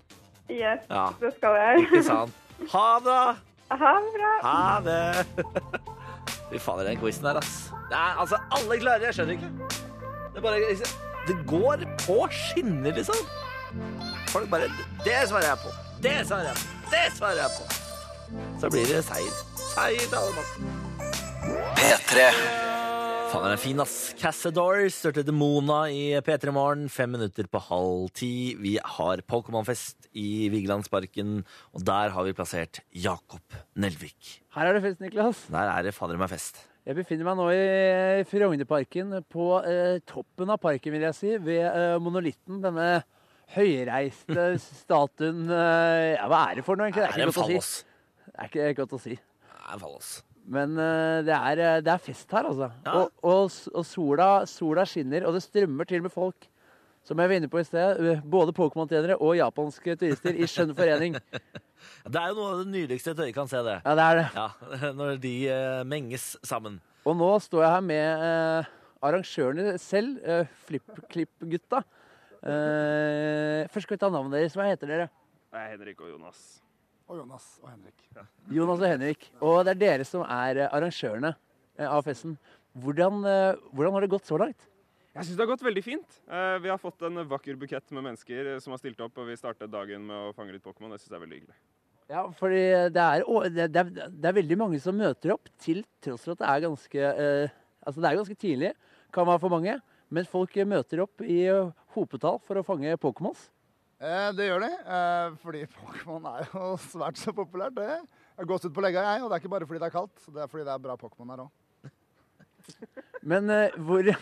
[SPEAKER 9] Yes,
[SPEAKER 2] Ja.
[SPEAKER 9] det skal jeg.
[SPEAKER 2] Ikke sant? Ha det! da.
[SPEAKER 9] [LAUGHS] Ha det bra.
[SPEAKER 2] Ha det! [LAUGHS] Fy fader, den quizen der, ass. Nei, altså, alle klarer det. Jeg skjønner ikke. Det bare liksom, Det går på skinner, liksom. Folk bare Det svarer jeg på. Det svarer jeg på. Det svarer jeg på. Så blir det seier. Seier til alle mann.
[SPEAKER 1] P3.
[SPEAKER 2] Faen, den er fin, ass. Cassadors størte til Mona i P3 Morgen. Fem minutter på halv ti. Vi har Pokémon-fest i Vigelandsparken, og der har vi plassert Jakob Nelvik.
[SPEAKER 4] Her er det fest, Niklas.
[SPEAKER 2] Der er det fader meg fest.
[SPEAKER 4] Jeg befinner meg nå i eh, Frognerparken, på eh, toppen av parken, vil jeg si, ved eh, monolitten. Denne høyreiste statuen eh, ja, Hva er det for noe, egentlig?
[SPEAKER 2] Det er en
[SPEAKER 4] ikke godt å
[SPEAKER 2] fallos.
[SPEAKER 4] si. Det er ikke godt å si.
[SPEAKER 2] Det er en fallos.
[SPEAKER 4] Men eh, det, er, eh, det er fest her, altså.
[SPEAKER 2] Ja.
[SPEAKER 4] Og, og, s- og sola, sola skinner, og det strømmer til med folk. Som jeg var inne på i sted, eh, både Pokémon-trenere og japanske turister i skjønn forening.
[SPEAKER 2] Det er jo noe av det nydeligste et øye kan se, det.
[SPEAKER 4] Ja, det er det.
[SPEAKER 2] Ja, [LAUGHS] Når de eh, menges sammen.
[SPEAKER 4] Og nå står jeg her med eh, arrangørene selv, eh, FlippKlipp-gutta. Eh, først skal vi ta navnet deres. Hva heter dere? Jeg er Henrik og Jonas. Og Jonas og Henrik. Jonas og Henrik. Og det er dere som er eh, arrangørene eh, av festen. Hvordan, eh, hvordan har det gått så langt?
[SPEAKER 8] Jeg syns det har gått veldig fint. Eh, Vi har fått en vakker bukett med mennesker eh, som har stilt opp, og vi startet dagen med å fange litt Pokémon. Det syns jeg er veldig hyggelig.
[SPEAKER 4] Ja, fordi det er, å- det, det er, det er veldig mange som møter opp, til tross for at det er ganske, eh, altså det er ganske tidlig. Kan være for mange. Men folk eh, møter opp i eh, hopetall for å fange Pokémons.
[SPEAKER 10] Eh, det gjør de, eh, fordi [LAUGHS] Pokémon er jo svært så populært. Det. Jeg har gått ut på legga, jeg, og det er ikke bare fordi det er kaldt. Det er fordi det er bra Pokémon her òg.
[SPEAKER 4] Men eh, hvor [LAUGHS]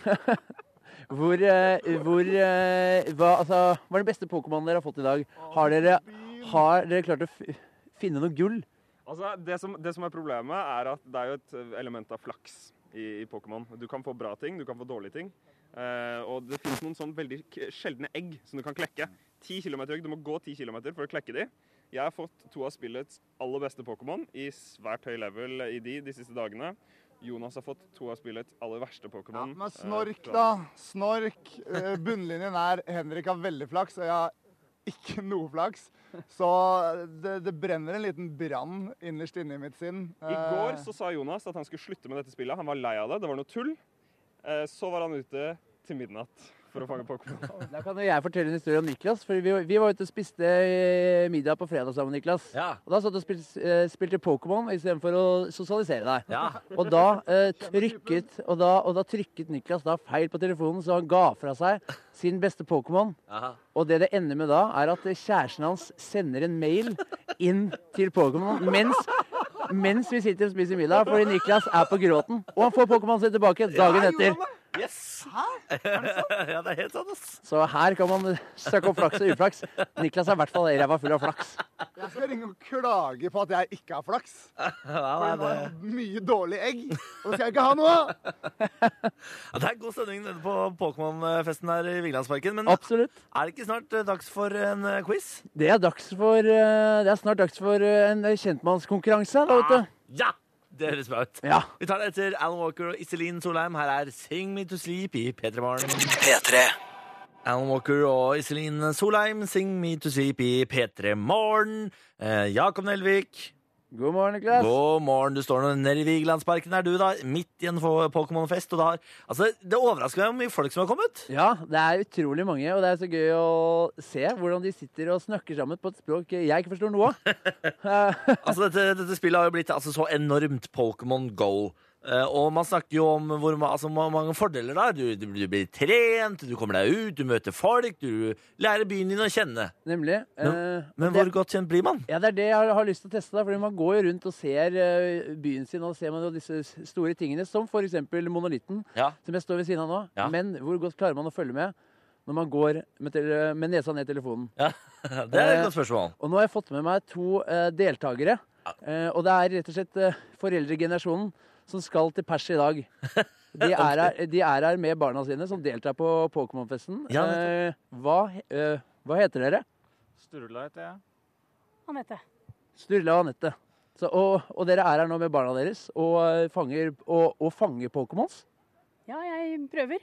[SPEAKER 4] Hvor, eh, hvor eh, hva, altså, hva er den beste Pokémonen dere har fått i dag? Har dere, har dere klart å f finne noe gull?
[SPEAKER 8] Altså, det som, det som er problemet, er at det er jo et eh, element av flaks i, i Pokémon. Du kan få bra ting, du kan få dårlige ting. Eh, og det finnes noen sånn veldig k sjeldne egg som du kan klekke. 10 km høy, du må gå 10 km for å klekke de. Jeg har fått to av spillets aller beste Pokémon i svært høy level i de de siste dagene. Jonas har fått to av spillets aller verste
[SPEAKER 10] Ja,
[SPEAKER 8] Pokémon.
[SPEAKER 10] men
[SPEAKER 8] eh,
[SPEAKER 10] snork,
[SPEAKER 8] fra-
[SPEAKER 10] da. Snork. Eh, bunnlinjen er Henrik har veldig flaks, og jeg har ikke noe flaks. Så det, det brenner en liten brann innerst inne i mitt sinn.
[SPEAKER 8] I går
[SPEAKER 10] Eh,
[SPEAKER 8] så sa Jonas at han skulle slutte med dette spillet. Han var lei av det. Det var noe tull. Eh, Så var han ute til midnatt for å fange
[SPEAKER 10] [LAUGHS]
[SPEAKER 8] Pokémon.
[SPEAKER 4] Da kan jo jeg fortelle en historie om Niklas. For vi, vi var ute og spiste eh, middag på fredag sammen. Niklas.
[SPEAKER 2] Ja.
[SPEAKER 4] Og da satt du og spil, eh, spilte Pokémon istedenfor å sosialisere deg.
[SPEAKER 2] Ja.
[SPEAKER 4] Og da, eh, trykket, og, da, og da trykket Niklas da feil på telefonen, så han ga fra seg sin beste Pokémon.
[SPEAKER 2] Aha.
[SPEAKER 4] Og det det ender med da, er at kjæresten hans sender en mail inn til Pokémon mens, mens vi sitter og spiser middag, fordi Niklas er på gråten. Og han får Pokémon sin tilbake dagen etter.
[SPEAKER 2] Yes! [LAUGHS] Ja, det er helt sant, ass.
[SPEAKER 4] Så her kan man søke opp flaks og uflaks. Niklas er i hvert fall ræva full av flaks.
[SPEAKER 10] Jeg skal ringe og klage på at jeg ikke har flaks. [LAUGHS] For det var mye dårlig egg. Og det skal jeg ikke ha noe av!
[SPEAKER 2] Ja, det er god stemning nede på Pokémon-festen her i Vigelandsparken. Men er det ikke snart eh, dags for en eh, quiz?
[SPEAKER 4] Det er, dags for, eh, det er snart dags for eh, en kjentmannskonkurranse. Da, vet du.
[SPEAKER 2] Ja! Det høres bra ut.
[SPEAKER 4] Ja.
[SPEAKER 2] Vi tar det etter Alan Walker og Iselin Solheim. Her er Sing Me To Sleep i P3 Morgen.
[SPEAKER 1] P3.
[SPEAKER 2] Alan Walker og Iselin Solheim, Sing Me To Sleep i P3 Morgen. Eh, Jakob Nelvik,
[SPEAKER 4] God morgen, Niklas.
[SPEAKER 2] god morgen. Du står nå nede i Vigelandsparken, er du da, midt i en fo- Pokémon-fest. Og det, har, altså, det overrasker meg hvor mye folk som har kommet.
[SPEAKER 4] Ja, det er utrolig mange, og det er så gøy å se hvordan de sitter og snakker sammen på et språk jeg ikke forstår noe av. Eh,
[SPEAKER 2] Altså, dette, dette spillet har jo blitt altså, så enormt Pokémon Go. Eh, og man snakker jo om hvor ma- altså, ma- mange fordeler det er. Du, du, du blir trent, du kommer deg ut, du møter folk, du lærer byen din å kjenne.
[SPEAKER 4] Nemlig. eh,
[SPEAKER 2] Men
[SPEAKER 4] og det-
[SPEAKER 2] hvor godt kjent blir man?
[SPEAKER 4] Ja, det er det jeg har, har lyst til å teste. da, fordi Man går jo rundt og ser eh, byen sin, og ser man jo disse s- store tingene, som f.eks. monolitten,
[SPEAKER 2] Ja.
[SPEAKER 4] som jeg står ved siden av nå.
[SPEAKER 2] Ja.
[SPEAKER 4] Men hvor godt klarer man å følge med når man går med, tele med nesa ned i telefonen?
[SPEAKER 2] [LAUGHS] Det er
[SPEAKER 4] Eh,
[SPEAKER 2] et godt spørsmål.
[SPEAKER 4] Og nå har jeg fått med meg to eh, deltakere. Eh, og det er rett og slett eh, foreldregenerasjonen som skal til pers i
[SPEAKER 2] [LAUGHS]
[SPEAKER 4] dag. De er, her, de er her med barna sine, som deltar på Pokémon-festen.
[SPEAKER 2] Ja,
[SPEAKER 4] eh, hva, he- eh, hva heter dere?
[SPEAKER 11] Sturla heter jeg.
[SPEAKER 4] Sturla og Anette. Så, og, og dere er her nå med barna deres og eh, fanger, og, og fanger Pokémons.
[SPEAKER 12] Ja, jeg prøver.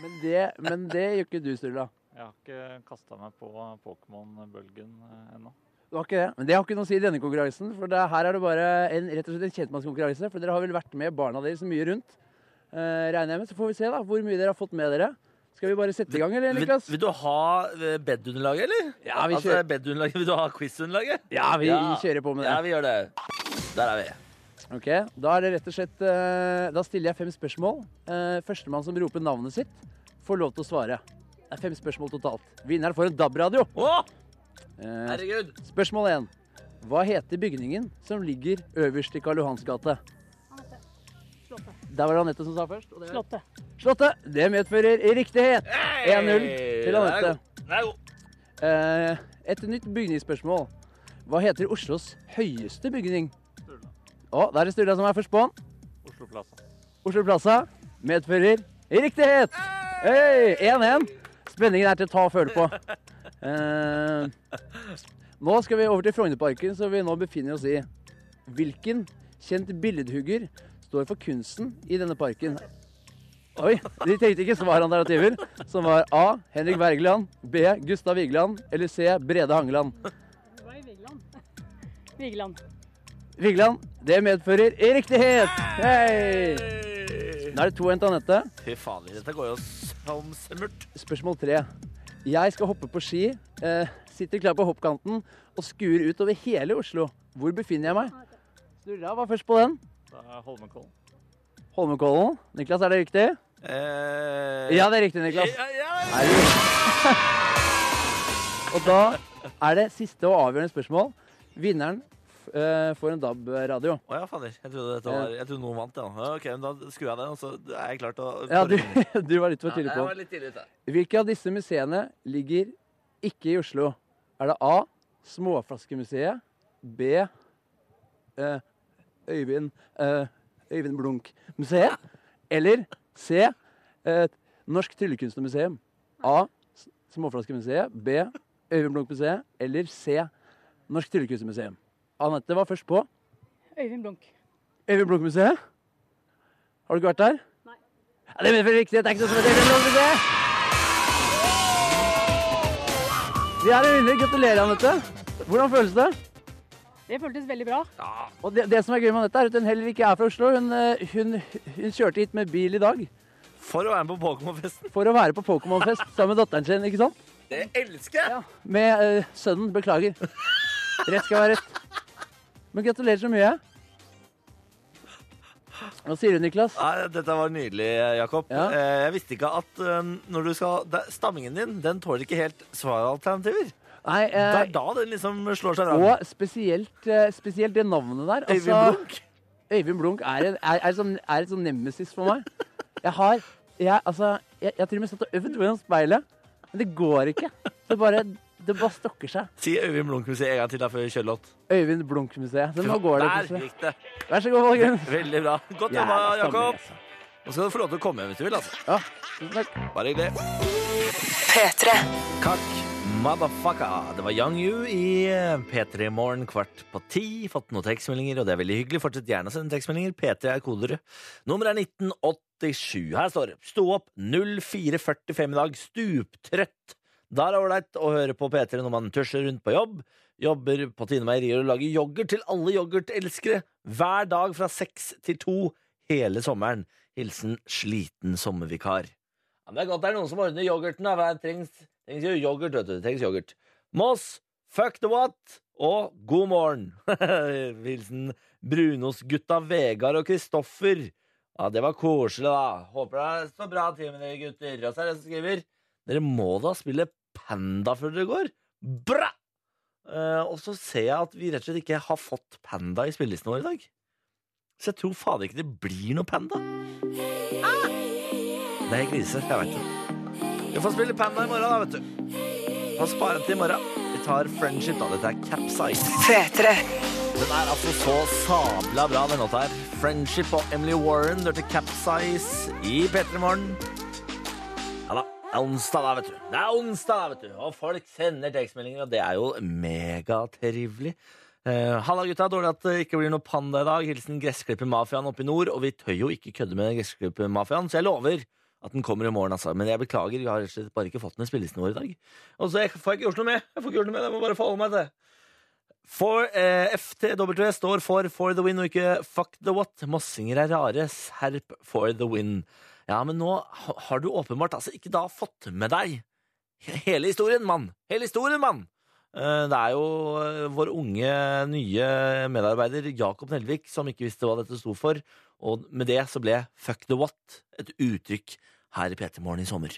[SPEAKER 4] Men det, men det gjør ikke du, Sturla.
[SPEAKER 11] Jeg har ikke kasta meg på Pokémon-bølgen eh, ennå.
[SPEAKER 4] Det var ikke det. Men det har ikke noe å si i denne konkurransen. For det, her er det bare en, rett og slett en kjentmannskonkurranse. For dere har vel vært med barna deres mye rundt. Eh, regner jeg med. Så får vi se da, hvor mye dere har fått med dere. Skal vi bare sette i gang, eller,
[SPEAKER 2] Vil,
[SPEAKER 4] Niklas?
[SPEAKER 2] vil du ha eh, bedunderlaget, eller?
[SPEAKER 4] Ja, vi
[SPEAKER 2] altså,
[SPEAKER 4] kjører.
[SPEAKER 2] bedunderlaget. Vil du ha quizunderlaget?
[SPEAKER 4] Ja, vi kjører på med det.
[SPEAKER 2] Ja, vi gjør det. Der er vi.
[SPEAKER 4] Ok, Da er det rett og slett eh, Da stiller jeg fem spørsmål. Eh, Førstemann som roper navnet sitt, får lov til å svare. Det er fem spørsmål totalt. Vinneren får en DAB-radio.
[SPEAKER 2] Å,
[SPEAKER 4] Eh,
[SPEAKER 2] herregud!
[SPEAKER 4] Spørsmål 1. Hva heter bygningen som ligger øverst i Karl Johans gate? Der var det Anette som sa først. og det er-
[SPEAKER 12] Slottet.
[SPEAKER 4] Slottet. Det medfører riktighet. 1-0 til Anette.
[SPEAKER 2] Der er god.
[SPEAKER 4] Eh, Et nytt bygningsspørsmål. Hva heter Oslos høyeste bygning? Å, da er det Sturla som er først på.
[SPEAKER 11] Oslo Plaza.
[SPEAKER 4] Oslo Plaza medfører riktighet. Hey, 1-1. Spenningen er til å ta og føle på. Eh, nå skal vi over til Frognerparken, som vi nå befinner oss i. Hvilken kjent billedhugger står for kunsten i denne parken? Oi, de tenkte ikke svaralternativer, som var A. Henrik Wergeland, B. Gustav Vigeland eller C. Brede Hangeland.
[SPEAKER 12] Det var i Vigeland. Vigeland.
[SPEAKER 4] Vigeland, det medfører riktighet! Hey! Da er det 2-1 til Anette.
[SPEAKER 2] Fy fader, dette går jo som smurt.
[SPEAKER 4] Spørsmål tre. Jeg skal hoppe på ski, eh, sitter klar på hoppkanten og skuer ut over hele Oslo. Hvor befinner jeg meg? Sturla var først på den.
[SPEAKER 11] Det er Holmenkollen.
[SPEAKER 4] Holmenkollen. Niklas, er det riktig?
[SPEAKER 2] Eh,
[SPEAKER 4] Ja, det er riktig, Niklas. Er du- Og da er det siste og avgjørende spørsmål. Vinneren f- eh, får en DAB-radio.
[SPEAKER 2] Å ja, fader. Jeg trodde, dette var, jeg trodde noen vant, ja. Ja, Ok, men Da skrur jeg den, og så er jeg klar til å
[SPEAKER 4] Ja, du, [LAUGHS] du var litt for tidlig
[SPEAKER 2] Ja, jeg
[SPEAKER 4] på.
[SPEAKER 2] var litt tidlig ute.
[SPEAKER 4] Hvilke av disse museene ligger ikke i Oslo? Er det A. Småflaskemuseet. B. Eh, Øyvind eh, Øyvind Blunk-museet. Eller C. Eh, Norsk Tryllekunstnermuseum. A. S- Småflaskemuseet. B. Øyvind Blunk-museet. Eller C. Norsk Tryllekunstnermuseum. Anette var først på.
[SPEAKER 12] Øyvind Blunk.
[SPEAKER 4] Øyvind Blunk-museet. Har du ikke vært der? Ja, det er medfører riktig. Det er ikke noe som heter Øyvind Blunk-museet. Vi er en vinner. Gratulerer, Anette. Hvordan føles det?
[SPEAKER 12] Det føltes veldig bra.
[SPEAKER 4] Og det, det som er gøy med Anette, er at hun heller ikke er fra Oslo. Hun, eh, hun, hun kjørte hit med bil i dag
[SPEAKER 2] For å være med på Pokémon-festen.
[SPEAKER 4] for å være på Pokémon-fest sammen med datteren sin, ikke sant?
[SPEAKER 2] Det elsker jeg!
[SPEAKER 4] Med eh, sønnen. Beklager. Rett skal være rett. Men gratulerer så mye. Hva sier du, Niklas?
[SPEAKER 2] Nei, dette var nydelig, Jakob.
[SPEAKER 4] Ja.
[SPEAKER 2] Eh, Jeg visste ikke at eh, når du skal det- Stammingen din den tåler ikke helt svaralternativer.
[SPEAKER 4] Nei, eh,
[SPEAKER 2] Det er da den liksom slår seg fram.
[SPEAKER 4] Og spesielt, eh, spesielt det navnet der. Altså,
[SPEAKER 2] Øyvind Blunk.
[SPEAKER 4] Øyvind Blunk er, en, er, er, sånn, er et sånn nemesis for meg. Jeg har jeg, altså, jeg, jeg har til og med satt og øvd foran speilet, men det går ikke. Det bare, det bare stokker seg.
[SPEAKER 2] Si Øyvind Blunk-museet en gang til da før vi kjører låt.
[SPEAKER 4] Øyvind Blunk-museet. Så nå går det.
[SPEAKER 2] Der
[SPEAKER 4] plutselig.
[SPEAKER 2] gikk det.
[SPEAKER 4] Vær så god, Valgren.
[SPEAKER 2] Veldig bra. Godt
[SPEAKER 4] Jævla
[SPEAKER 2] jobba,
[SPEAKER 4] stemning, altså.
[SPEAKER 2] Jakob. Nå skal du få lov til å komme hjem hvis du vil. altså. Bare hyggelig.
[SPEAKER 3] P3.
[SPEAKER 2] Kakk, motherfucker. Ah, Det var Young You i eh, P3 Morgen kvart på ti. Fått noen tekstmeldinger, og det er veldig hyggelig. Fortsett gjerne å sende tekstmeldinger. P3 er koderud. Nummeret er 1987. Her står det. Sto opp 04.45 i dag. Stuptrøtt. Da er det ålreit å høre på P3 når man tusjer rundt på jobb. Jobber på Tine Meierier og lager yoghurt til alle yoghurtelskere hver dag fra seks til to hele sommeren. Hilsen sliten sommervikar. Ja, men det er godt det er noen som ordner yoghurten. Da. for Det trengs, trengs jo yoghurt, vet du. Det trengs yoghurt. Moss, fuck the what? Og god morgen. [LAUGHS] Hilsen Brunosgutta Vegard og Kristoffer. Ja, det var koselig, da. Håper det står bra til med dere gutter. Og så er det en som skriver Dere må da spille Panda før dere går. Bra! Eh, og så ser jeg at vi rett og slett ikke har fått Panda i spillelisten vår i dag. Så jeg tror fader ikke det blir noe Panda. Det er krise, jeg veit det. Vi får spille Panda i morgen, da, vet du. Får spare til i morgen. Vi tar Friendship, da. Dette er Capsize.
[SPEAKER 3] P3.
[SPEAKER 2] Den er altså så sabla bra, den låta her. Friendship og Emily Warren hørte Capsize i P3 Morgen. Ja da. Det er onsdag, da, vet du. Det er onsdag, da, vet du. Og folk sender tekstmeldinger, og det er jo megatrivelig. Eh, Halla, gutta. Dårlig at det ikke blir noe panda i dag. Hilsen gressklippermafiaen oppe i nord. Og vi tør jo ikke kødde med gressklippermafiaen, så jeg lover at den kommer i morgen, altså. Men jeg beklager, vi har rett og slett bare ikke fått den i spillelisten vår i dag. Og så får jeg ikke gjort noe med. Jeg får ikke gjort noe med det. Jeg må bare forholde meg til det. For eh, FTW står for For the win og ikke Fuck the what. Mossinger er rare. Serp for the win. Ja, men nå ha- har du åpenbart altså ikke da fått med deg he- hele historien, mann. Hele historien, mann! Eh, Det er jo eh, vår unge, nye medarbeider Jakob Nelvik som ikke visste hva dette sto for, og med det så ble fuck the what et uttrykk her i PT Morgen i sommer.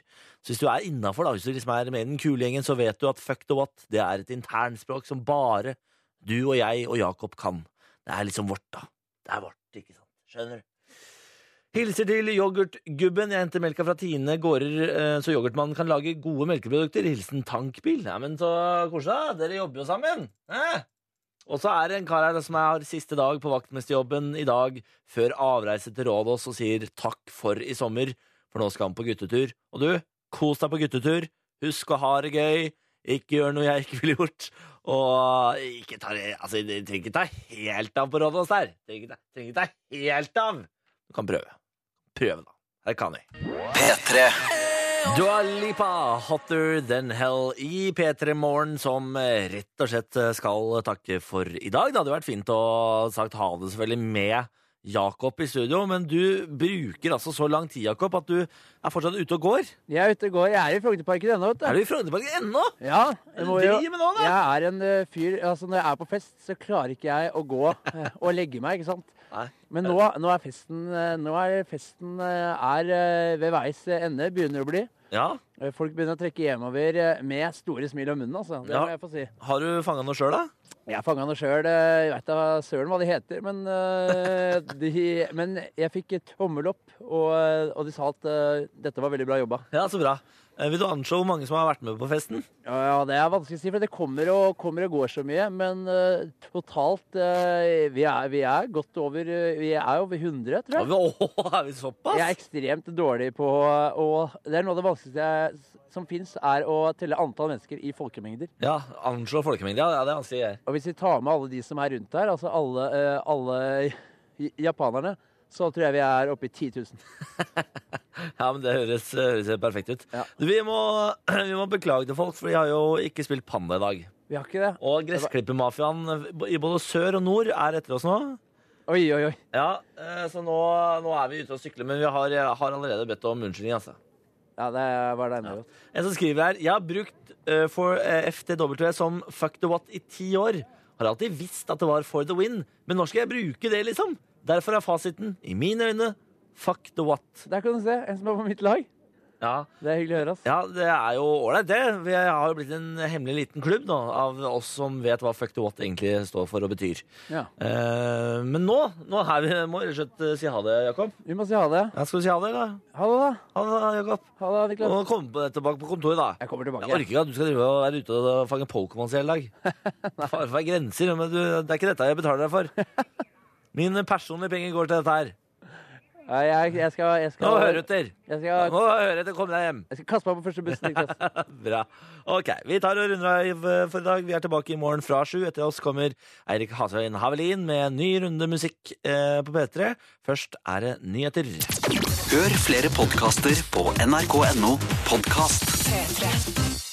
[SPEAKER 2] Så hvis du er innafor, da, hvis du liksom er med i den kule gjengen, så vet du at fuck the what det er et internspråk som bare du og jeg og Jakob kan. Det er liksom vårt, da. Det er vårt, ikke sant? Skjønner du? Hilser til yoghurtgubben. Jeg henter melka fra Tine gårder, eh, så yoghurtmannen kan lage gode melkeprodukter. Hilsen tankbil. Nei, men så koselig, da. Dere jobber jo sammen. Eh? Og så er det en kar her som har siste dag på vaktmesterjobben i dag, før avreise til Rådås, og sier takk for i sommer, for nå skal han på guttetur. Og du, kos deg på guttetur. Husk å ha det gøy. Ikke gjør noe jeg ikke ville gjort. Og ikke ta Altså, det trenger ikke ta helt av på Rådås der. Trenger ikke ta- trenger ikke ta helt av. Du kan prøve. Prøve, da. Her kan vi.
[SPEAKER 1] P3.
[SPEAKER 2] Dua Lipa, Hotter Than Hell i P3 Morgen, som eh, rett og slett skal takke for i dag. Det hadde vært fint å sagt ha det selvfølgelig med Jakob i studio, men du bruker altså så lang tid, Jakob, at du er fortsatt ute og går.
[SPEAKER 4] Jeg er ute og går. Jeg er i Frognerparken ennå, vet du.
[SPEAKER 2] Er du i Frognerparken ennå?
[SPEAKER 4] Ja.
[SPEAKER 2] Hva er det du driver med nå, da?
[SPEAKER 4] Jeg er en eh, fyr Altså, når jeg er på fest, så klarer ikke jeg å gå eh, og legge meg, ikke sant? Men nå, nå er festen, eh, nå er festen eh, er eh, ved veis ende, begynner å bli.
[SPEAKER 2] Ja.
[SPEAKER 4] Eh, Folk begynner å trekke hjemover eh, med store smil om munnen, altså. Det
[SPEAKER 2] Ja.
[SPEAKER 4] må jeg få si.
[SPEAKER 2] Har du fanga noe sjøl, da?
[SPEAKER 4] Jeg fanga noe sjøl. Jeg veit da søren hva de heter. Men, eh, de, men jeg fikk et tommel opp, og, og de sa at eh, dette var veldig bra jobba.
[SPEAKER 2] Ja, så bra. Eh, Vil du anslå hvor mange som har vært med på festen?
[SPEAKER 4] Ja, ja, det er vanskelig å si, for det kommer og, kommer og går så mye. Men eh, totalt eh, vi, er, vi er godt over eh, Vi er over 100, tror
[SPEAKER 2] Ja,
[SPEAKER 4] jeg.
[SPEAKER 2] vi, åh, er vi såpass?
[SPEAKER 4] Jeg er ekstremt dårlig på Og det er noe av det vanskeligste jeg, som fins, er å telle antall mennesker i folkemengder.
[SPEAKER 2] Ja, anslå folkemengde. Ja, det er vanskelig. jeg.
[SPEAKER 4] Og hvis vi tar med alle de som er rundt her, altså alle, eh, alle j- japanerne, så tror jeg vi er oppe i 10 000.
[SPEAKER 2] Ja, men det høres, eh, høres helt perfekt ut. Du, Vi, må, [CLEARS THROAT] vi må beklage til folk, for vi har jo ikke spilt Panda i dag.
[SPEAKER 4] Vi har ikke det.
[SPEAKER 2] Og gressklippermafiaen i både sør og nord er etter oss nå.
[SPEAKER 4] Oi, oi, oi.
[SPEAKER 2] Ja, eh, så nå, nå er vi ute og sykler, men vi har, jeg har allerede bedt om unnskyldning, altså.
[SPEAKER 4] Ja, det var det ene.
[SPEAKER 2] En som skriver her Jeg har brukt eh, for eh, FTW som fuck the what i ti år. Har alltid visst at det var for the win, men når skal jeg bruke det, liksom? Derfor er fasiten, i mine øyne, fuck the what.
[SPEAKER 4] Der kan du se, en som er på mitt lag.
[SPEAKER 2] Ja.
[SPEAKER 4] Det er hyggelig å høre.
[SPEAKER 2] Ja, det er jo ålreit, det. Vi har jo blitt en hemmelig liten klubb nå, av oss som vet hva fuck the what egentlig står for og betyr.
[SPEAKER 4] Ja.
[SPEAKER 2] Eh, men nå, nå er vi, må vi rett og slett eh, si ha det, Jakob.
[SPEAKER 4] Vi må si ha det.
[SPEAKER 2] Ja, skal vi si ha det, da?
[SPEAKER 4] Ha det, da.
[SPEAKER 2] Ha det, da, Jakob.
[SPEAKER 4] Ha det, Niklas.
[SPEAKER 2] Og kom på- tilbake på kontoret, da.
[SPEAKER 4] Jeg kommer tilbake.
[SPEAKER 2] Jeg orker ikke at du skal drive og være ute og fange Pokémons i hele dag. Fare for grenser, men du, det er ikke dette jeg betaler deg for. Mine personlige penger går til dette her.
[SPEAKER 4] Ja, jeg, jeg skal, jeg skal
[SPEAKER 2] Nå hører du etter.
[SPEAKER 4] Jeg skal,
[SPEAKER 2] Nå hører du etter, kom deg hjem.
[SPEAKER 4] Jeg skal kaste meg på første bussen, Niklas.
[SPEAKER 2] Bra. Ok, vi tar og runder av for i dag. Vi er tilbake i morgen fra sju. Etter oss kommer Eirik Hasøyen Havelin med en ny runde musikk eh, på P3. Først er det nyheter.
[SPEAKER 1] Hør flere podkaster på nrk.no podkast.
[SPEAKER 3] P3.